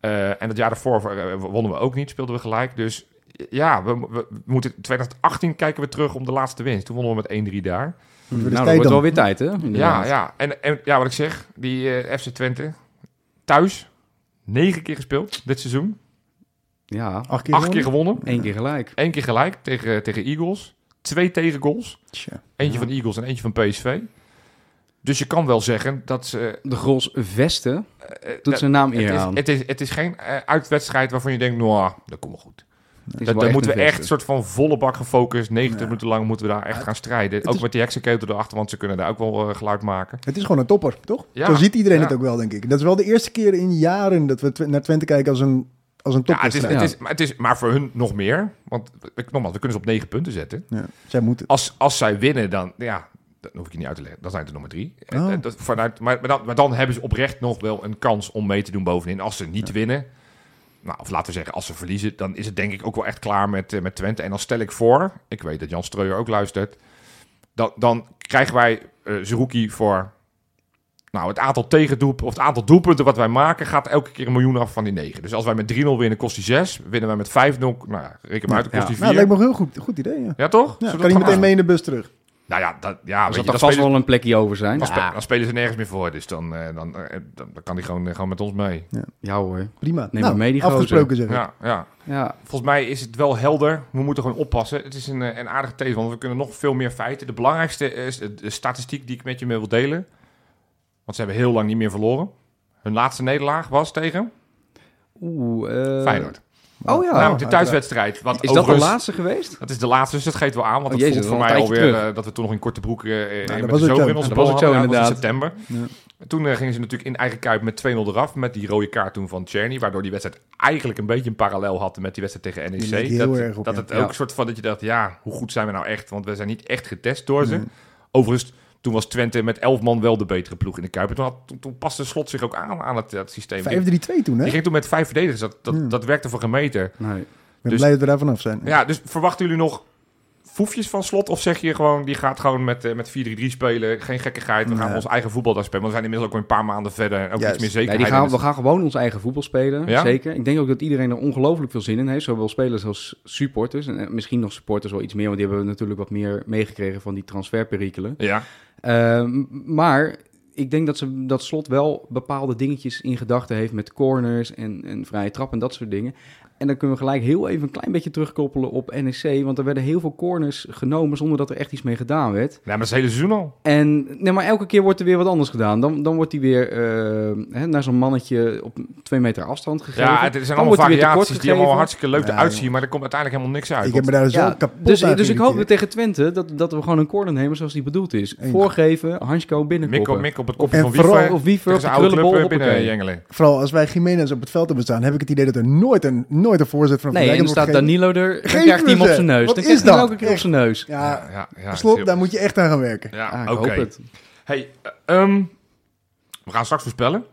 Eh, en dat jaar daarvoor eh, wonnen we ook niet, speelden we gelijk. Dus ja, we, we, we moeten 2018 kijken we terug om de laatste winst. Toen wonnen we met 1-3 daar.
Wordt
Nou,
het
dat
tijd
wordt wel
dan?
weer tijd, hè?
Ja,
inderdaad.
ja. En, en ja, wat ik zeg, die eh, FC Twente, thuis, negen keer gespeeld dit seizoen.
Ja,
Acht keer
Acht keer
gewonnen?
gewonnen.
één keer gelijk.
Eén keer gelijk tegen, tegen Eagles. Twee tegengoals.
Tja.
Eentje
Ja.
van de Eagles en eentje van PSV. Dus je kan wel zeggen dat ze...
De Gros Vesten
eh, eh,
doet zijn naam eer
het,
aan.
is, het, is, het is geen eh, uitwedstrijd waarvan je denkt, nou, dat komt wel goed.
Het is
Dat,
wel
dan moeten
een
we echt een
Vesten.
soort van volle bak gefocust. 90
Ja.
minuten lang moeten we daar echt gaan strijden. Ook
is-
met die heksenketel erachter, want ze kunnen daar ook wel eh, geluid maken.
Het is gewoon een topper, toch?
Ja.
Zo ziet iedereen
Ja.
het ook wel, denk ik. Dat is wel de eerste keer in jaren dat we tw- naar Twente kijken als een, als een
Ja, het is,
topwedstrijd.
het is, maar, het is, maar voor hun nog meer. Want ik, nogmaals, we kunnen ze op negen punten zetten.
Ja, Zij moeten.
Als, als zij winnen, dan, ja, dat hoef ik je niet uit te leggen. Dan zijn het er nummer drie. En-
Oh.
en dat, vanuit, maar, maar, dan, maar dan hebben ze oprecht nog wel een kans om mee te doen bovenin. Als ze niet winnen, nou, of laten we zeggen, als ze verliezen, dan is het denk ik ook wel echt klaar met, eh, met Twente. En dan stel ik voor, ik weet dat Jan Streuer ook luistert, dan, dan krijgen wij eh Zerouki voor... Nou, het aantal tegendoep of het aantal doelpunten wat wij maken gaat elke keer een miljoen af van die negen. Dus als wij met 3-0 winnen, kost die 6. Winnen wij met 5-0, nou ja, reken maar uit, dan kost die
Nou, dat
4.
lijkt me een heel goed, goed idee, ja.
Ja, toch?
Ja,
Zullen we
kan
dat
hij
gaan
meteen mee in de bus terug?
nou ja, dat, ja
Er
weet
zal
je,
er
dan,
vast
spelen,
wel een plekje over zijn.
dan, spe-
Ja,
dan spelen ze nergens meer voor. Dus dan, eh, dan, eh, dan, dan kan hij gewoon, eh, gewoon met ons mee.
ja hoor.
Prima. Nou,
Neem maar mee, die gozer.
afgesproken zeg ik.
Ja, ja.
Ja,
Volgens mij is het wel helder. We moeten gewoon oppassen. Het is een, eh, een aardige these, want we kunnen nog veel meer feiten. De belangrijkste is de, de statistiek die ik met je mee wil delen. Want ze hebben heel lang niet meer verloren. Hun laatste nederlaag was tegen
oeh. eh,
Feyenoord.
Oh ja.
Namelijk de
uiteraard.
thuiswedstrijd. Want
is dat de
overigens-
laatste geweest?
Dat is de laatste, dus dat geeft wel aan. Want
Oh,
dat
jezus, dat
voelt voor
is al
mij
een tijdje
alweer
terug.
eh, dat we toen nog in korte broek eh, eh,
dat
met
was
de
het
zomer
zo.
in onze
Ja, dat was
bal
het zo,
hadden. Ja, dat was in september.
inderdaad.
Toen eh, gingen ze natuurlijk in eigen kuip met 2-0 eraf. Met die rode kaart toen van Czerny. Waardoor die wedstrijd eigenlijk een beetje een parallel had met die wedstrijd tegen
Die leek
NEC.
heel
Dat,
erg op,
dat
ja.
het ook
Ja.
soort van dat je dacht, ja, hoe goed zijn we nou echt? Want we zijn niet echt getest door ze. Overigens, toen was Twente met 11 man wel de betere ploeg in de kuip. En toen, had, toen, toen paste Slot zich ook aan aan het, dat systeem. Die,
5-3-2 toen, hè?
die
Ik
ging toen met vijf verdedigers. Dat, dat, dat werkte voor geen meter.
Nee.
ben
dus-
blij dat we daar vanaf zijn.
Ja, dus verwachten jullie nog foefjes van slot? Of zeg je gewoon, die gaat gewoon met, eh, met 4-3-3 spelen. Geen gekkigheid, we gaan
Nee.
ons eigen voetbal daar spelen. Want we zijn inmiddels ook weer een paar maanden verder. en Ook
Juist.
iets meer
Nee,
zekerheid.
die gaan,
in
we
het-
gaan gewoon ons eigen voetbal spelen.
Ja?
Zeker. Ik denk ook dat iedereen er ongelooflijk veel zin in heeft. Zowel spelers als supporters. En eh, misschien nog supporters wel iets meer. Want die hebben natuurlijk wat meer meegekregen van die transferperikelen.
Ja,
Ehm, maar ik denk dat, ze, dat Slot wel bepaalde dingetjes in gedachten heeft met corners en, en vrije trap en dat soort dingen. En dan kunnen we gelijk heel even een klein beetje terugkoppelen op NEC. Want er werden heel veel corners genomen zonder dat er echt iets mee gedaan werd.
nou, maar dat is het hele seizoen al.
En nee, maar elke keer wordt er weer wat anders gedaan. Dan, dan wordt hij weer eh, hè, naar zo'n mannetje op twee meter afstand gegeven.
Ja, het
Dan
zijn allemaal
wordt hij weer tekort
variaties die allemaal
gegeven.
hartstikke leuk
Ja,
eruit zien. Maar er komt uiteindelijk helemaal niks uit.
Ik heb me
Want-
daar
Ja,
zo kapot
dus,
aan
dus ik hoop
geïrriteerd.
dat tegen Twente dat, dat we gewoon een corner nemen zoals die bedoeld is.
Eens.
Voorgeven, Hansko
Mikkel,
binnenkoppen.
Mikkel op het kopje
En
van
vooral
Wiefer.
Of wie
Tegen
op de
zijn oude
krullenbol.
club eh,
hoppakee.
binnen jengelen.
Vooral als wij Jiménez op het veld hebben staan, heb ik het idee dat er nooit een, nooit een voorzet van een
Nee, en dan
verdediging
staat
wordt
Danilo er, dan
Geef
krijgt
me
hij hem op
ze.
zijn neus.
Wat
dan
is
krijgt hij hem
dat?
elke keer op zijn neus.
gegeven. Ja,
Ja, ja,
slot,
heel-
daar moet je echt aan gaan werken.
Ah,
Ja,
ik
oké.
hoop het.
Hey, eh, ehm, we gaan straks voorspellen.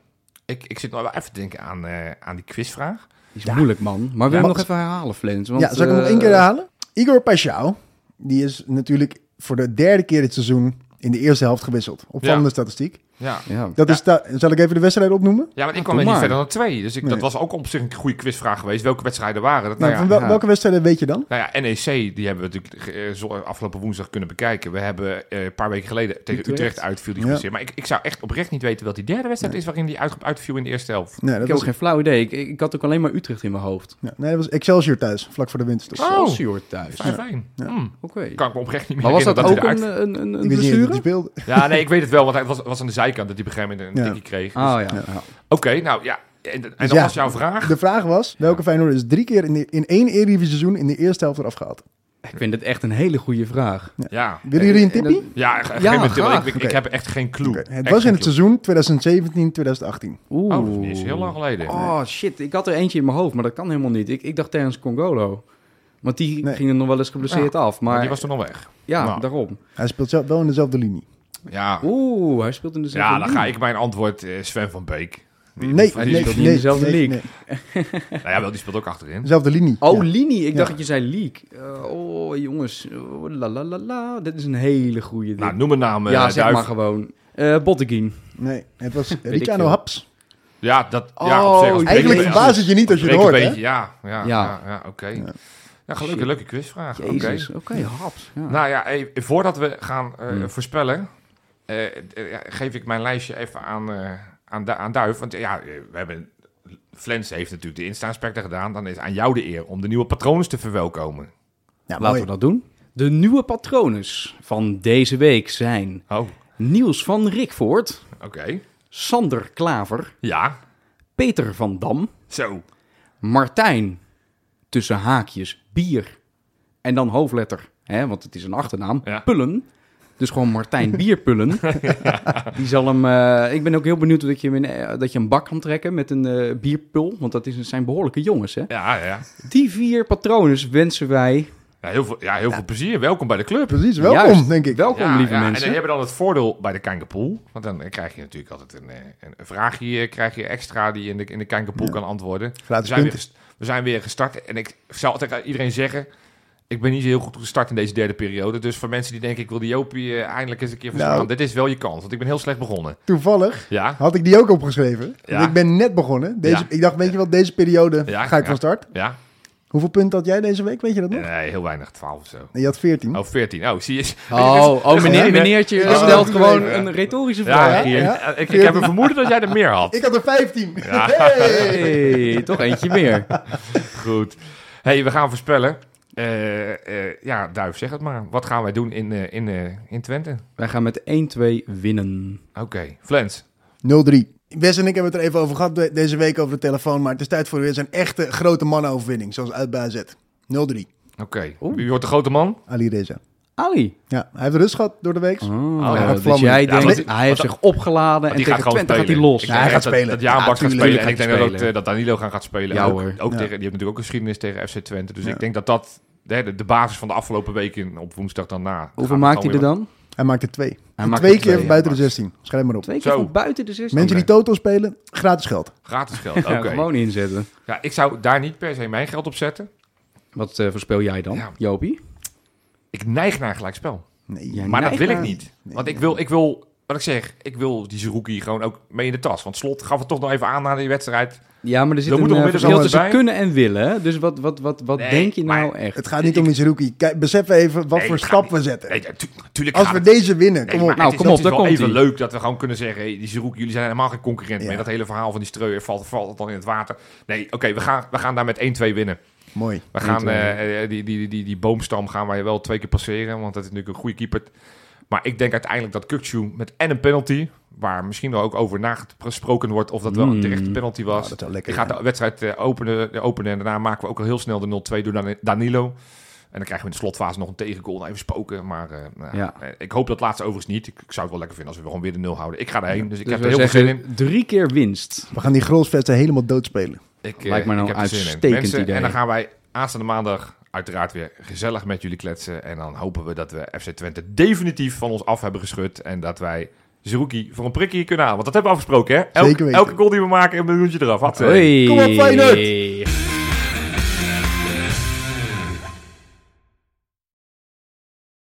Ik, ik zit nog wel even te denken aan, eh, aan die quizvraag.
Is moeilijk, man. Maar wil je
Ja,
hem
maar-
nog even herhalen, Flens? Want,
ja, zal ik hem nog
eh,
één keer herhalen? Igor Paschal, die is natuurlijk voor de derde keer dit seizoen in de eerste helft gewisseld. Opvallende statistiek.
Ja,
Ja.
Dat
Ja.
is da- zal ik even de wedstrijd opnoemen?
Ja, want ik
doe
kwam er niet
maar.
verder dan twee. Dus ik, dat
Nee.
was ook op zich een goede quizvraag geweest. Welke wedstrijden waren dat?
Nou,
Nou, ja,
van wel-
ja.
Welke wedstrijden weet je dan?
nou ja, NEC, die hebben we natuurlijk eh, zo- afgelopen woensdag kunnen bekijken. We hebben eh, een paar weken geleden tegen Utrecht,
Utrecht.
uitviel die
Ja.
geblesseerd. Maar ik, ik zou echt oprecht niet weten wat die derde wedstrijd is waarin die uit, uitviel in de eerste helft.
Nee,
Ik
dat,
heb ook
was,
geen flauw idee. Ik, ik had ook alleen maar Utrecht in mijn hoofd.
ja, nee, dat was Excelsior thuis, vlak voor de winst.
Oh.
Excelsior thuis. Oké.
5-1.
Ja.
Hmm, kan ik me oprecht niet meer
Maar was dat,
herinneren
ook
hij eruit
een, een, een, een
Ik weet niet eens wie
blessure?
die speelde.
Ja, nee, ik weet het wel, want hij was, was aan de zijkant dat hij op een gegeven moment een
Ja. Dus
tikkie kreeg. Dus-
Ah ja. ja.
Oké, nou ja. En, en dat
ja.
was jouw vraag.
De vraag was, welke Feyenoord is drie keer in, de- in één Eredivisie seizoen in de eerste helft eraf gehaald?
Ik vind het echt een hele goede vraag.
Ja,
Willen jullie een
En- en
tipje?
ja, ge-
Ja,
geef me een tip, want
graag.
ik, ik, ik
Oké.
heb echt geen clue.
Oké, Het
Echt
was in
geen
het seizoen 2017-2018.
Oeh.
clue. Oh, dat is niet eens heel lang geleden.
Oh shit, ik had er eentje in mijn hoofd, maar dat kan helemaal niet. Ik, ik dacht Terence Congolo. Want die
Nee.
ging er nog wel eens geblesseerd af. Maar,
Maar die was toen al weg.
ja,
Nou.
daarom.
Hij speelt zelf wel in dezelfde linie.
Ja,
Oeh, hij speelt in de
Ja,
zevende
dan
linie.
ga ik mijn antwoord eh, Sven van Beek.
Nee, nee,
speelt niet
nee,
in dezelfde
nee,
league.
nee.
Nou ja, wel, die speelt ook achterin.
Dezelfde linie.
Oh,
ja.
Lini. Ik
Ja.
dacht dat je zei Leak. Eh, oh, jongens. Oh, la la la la. Dit is een hele goede ding.
Nou, noem een naam. eh,
ja, zeg
Duif.
maar gewoon. Eh Botteguin.
Nee, het was
ik
Ricciano
veel.
Haps.
Ja, dat... ja,
Oh,
op zich, als
Eigenlijk
breek-
Ja.
verbaast het je niet als je het
breek
hoort,
een
hè?
beetje, Ja, ja, ja,
Ja.
ja, oké. Ja,
Ja.
gelukkig,
Shit.
leuke quizvraag. Oké.
Jezus. Oké, haps. Ja.
Nou ja, hey, voordat we gaan eh,
Hmm.
voorspellen, eh, eh, ja, geef ik mijn lijstje even aan, eh, aan, Du- aan Duif. Want eh, ja, eh, we hebben... Flens heeft natuurlijk de Insta-aspecten gedaan. Dan is aan jou de eer om de nieuwe patronen te verwelkomen.
Ja,
Laten we dat doen. De nieuwe patrones van deze week zijn
Oh,
Niels van Rikvoort,
oké.
Sander Klaver,
Ja,
Peter van Dam,
zo.
Martijn, tussen haakjes, bier en dan hoofdletter, hè, want het is een achternaam,
Ja.
Pullen. Dus gewoon Martijn Bierpullen. Die zal hem. eh, ik ben ook heel benieuwd dat je, hem in, eh, dat je een bak kan trekken met een eh, bierpul. Want dat is, zijn behoorlijke jongens, hè?
Ja, ja.
Die vier patrones wensen wij
Ja, heel veel, ja, heel veel plezier. Welkom bij de club.
Precies, welkom,
Juist.
denk ik.
Welkom,
ja,
lieve
ja, En
mensen.
die hebben dan het voordeel bij de Kankerpool. Want dan eh, krijg je natuurlijk altijd een, eh, een een vraagje eh, krijg je extra die je in de, in de Kankerpool kan antwoorden. We
Gratis
zijn, weer
punten.
gest- we zijn weer gestart. En ik zou altijd aan iedereen zeggen, ik ben niet zo heel goed gestart in deze derde periode. Dus voor mensen die denken, ik wil die Jopie eh, eindelijk eens een keer verslaan.
Nou.
Dit is wel je kans, want ik ben heel slecht begonnen.
Toevallig
Ja,
had ik die ook opgeschreven.
Ja.
Ik ben net begonnen. Deze,
Ja.
Ik dacht, weet je wat, deze periode
Ja,
ga ik
ja.
van start.
ja.
Hoeveel punten had jij deze week, weet je dat nog?
Nee, heel weinig, 12 of zo.
Nee, je had 14.
Oh, 14. Oh, zie je.
Oh, oh meneer,
Nee, nee.
meneertje
Oh.
stelt gewoon
Ja.
een retorische
Ja,
vraag
hier.
hier.
ja.
Ik, ik heb een vermoeden dat jij er meer had.
Ik had er 15.
Ja.
Hey.
Hey, toch eentje meer.
Goed. hey, we gaan voorspellen. Eh, eh, ja, Duif, zeg het maar. Wat gaan wij doen in, eh, in, eh, in Twente?
Wij gaan met 1-2 winnen.
Oké, Flens.
0-3. Wes en ik hebben het er even over gehad de- deze week over de telefoon. Maar het is tijd voor weer zijn echte grote mannenoverwinning. Zoals uit bij AZ. 0-3.
Oké, wie wordt de grote
Nou,
man?
Ali Reza.
Ali.
Ja, hij heeft rust gehad door de week.
Mhm.
Oh,
ja,
dat
vlammen.
jij
Ja, want-
denkt, hij heeft
want-
zich opgeladen en
die
tegen
gaat gewoon
Twente gaat hij
spelen.
los.
Ik
Ja,
denk
hij gaat
dat-
spelen.
Dat Jaan
Ja,
Baks gaat
tuurlijk
spelen. En ik
gaat hij
denk dat, ook,
spelen.
eh, dat Danilo gaan gaat spelen.
Ja,
ook ook
hoor.
tegen,
Ja.
die hebben natuurlijk ook geschiedenis tegen FC Twente. Dus
Ja.
ik denk dat dat hè, de, de basis van de afgelopen weken op woensdag daarna...
Hoeveel
gaat
maakt hij er
gewoon
dan?
Hij maakt er twee.
Hij maakt
twee
er
keer
twee, ja,
buiten de
max.
16. Schrijf maar op.
Twee keer
Zo.
van buiten de 16.
Mensen die Toto spelen, gratis geld.
weer Gratis geld, oké.
Ja, Gewoon inzetten.
Ja, ik zou daar niet per se mijn geld op zetten.
Wat eh, voorspel jij dan,
Ja.
Jopie?
Ik neig naar gelijkspel.
Nee.
Jij
Maar dat
neigt
wil ik
naar-
niet. Want ik wil, ik wil, wat ik zeg, ik wil die Zerouki gewoon ook mee in de tas. Want Slot gaf het toch nog even aan na die wedstrijd.
Ja, maar er zit
Er moet
een
nog
eh,
midden-
verschil tussen
bij.
kunnen en willen. hè? Dus wat, wat, wat, wat
Nee,
denk je nou
maar
echt?
Het gaat niet om iets rookie. Kijk, besef even wat
Nee,
voor
het gaat
stap
niet-
we zetten.
Nee, natuurlijk
Eh, Als we deze winnen,
Nee,
kom
maar
op.
Nou,
het
kom
is- dat
op,
is
daar
wel
komt
even
ie.
leuk dat we gewoon kunnen zeggen... Hey, die Zeroek, jullie zijn helemaal geen concurrent
Ja.
meer. Dat hele verhaal van die streur valt, valt dan in het water. Nee, oké, we, gaan, we gaan daar met 1-2 winnen.
Mooi.
We gaan
1-2.
eh, eh, die, die, die, die, die boomstam gaan wij wel twee keer passeren. Want dat is natuurlijk een goede keeper. Maar ik denk uiteindelijk dat Kukcu met en een penalty... waar misschien wel ook over nagesproken wordt... of dat wel een
Hmm.
terechte penalty
Ah,
was.
dat is wel lekker.
Ik ga de wedstrijd eh, openen, eh, openen en daarna maken we ook al heel snel de 0-2 door Dan- Danilo. En dan krijgen we in de slotfase nog een tegengoal. Nou, even spoken, maar eh, nou,
Ja.
eh, ik hoop dat laatste overigens niet. Ik, ik zou het wel lekker vinden als we gewoon weer de nul houden. Ik ga erheen, dus ik
Dus
heb er
wij
heel veel zin in.
zeggen Drie keer winst.
We gaan die grolsvesten helemaal doodspelen.
Ik,
Lijkt me
eh,
nou
ik
een
heb er zin in.
uitstekend
Mensen,
idee.
En dan gaan wij aanstaande maandag uiteraard weer gezellig met jullie kletsen. En dan hopen we dat we FC Twente definitief van ons af hebben geschud. En dat wij Zerouki voor een prikkie kunnen halen. Want dat hebben we afgesproken, hè? Elk-
Zeker weten.
Elke goal die we maken, een miljoentje eraf. Had,
Hoi.
Kom op, Feyenoord!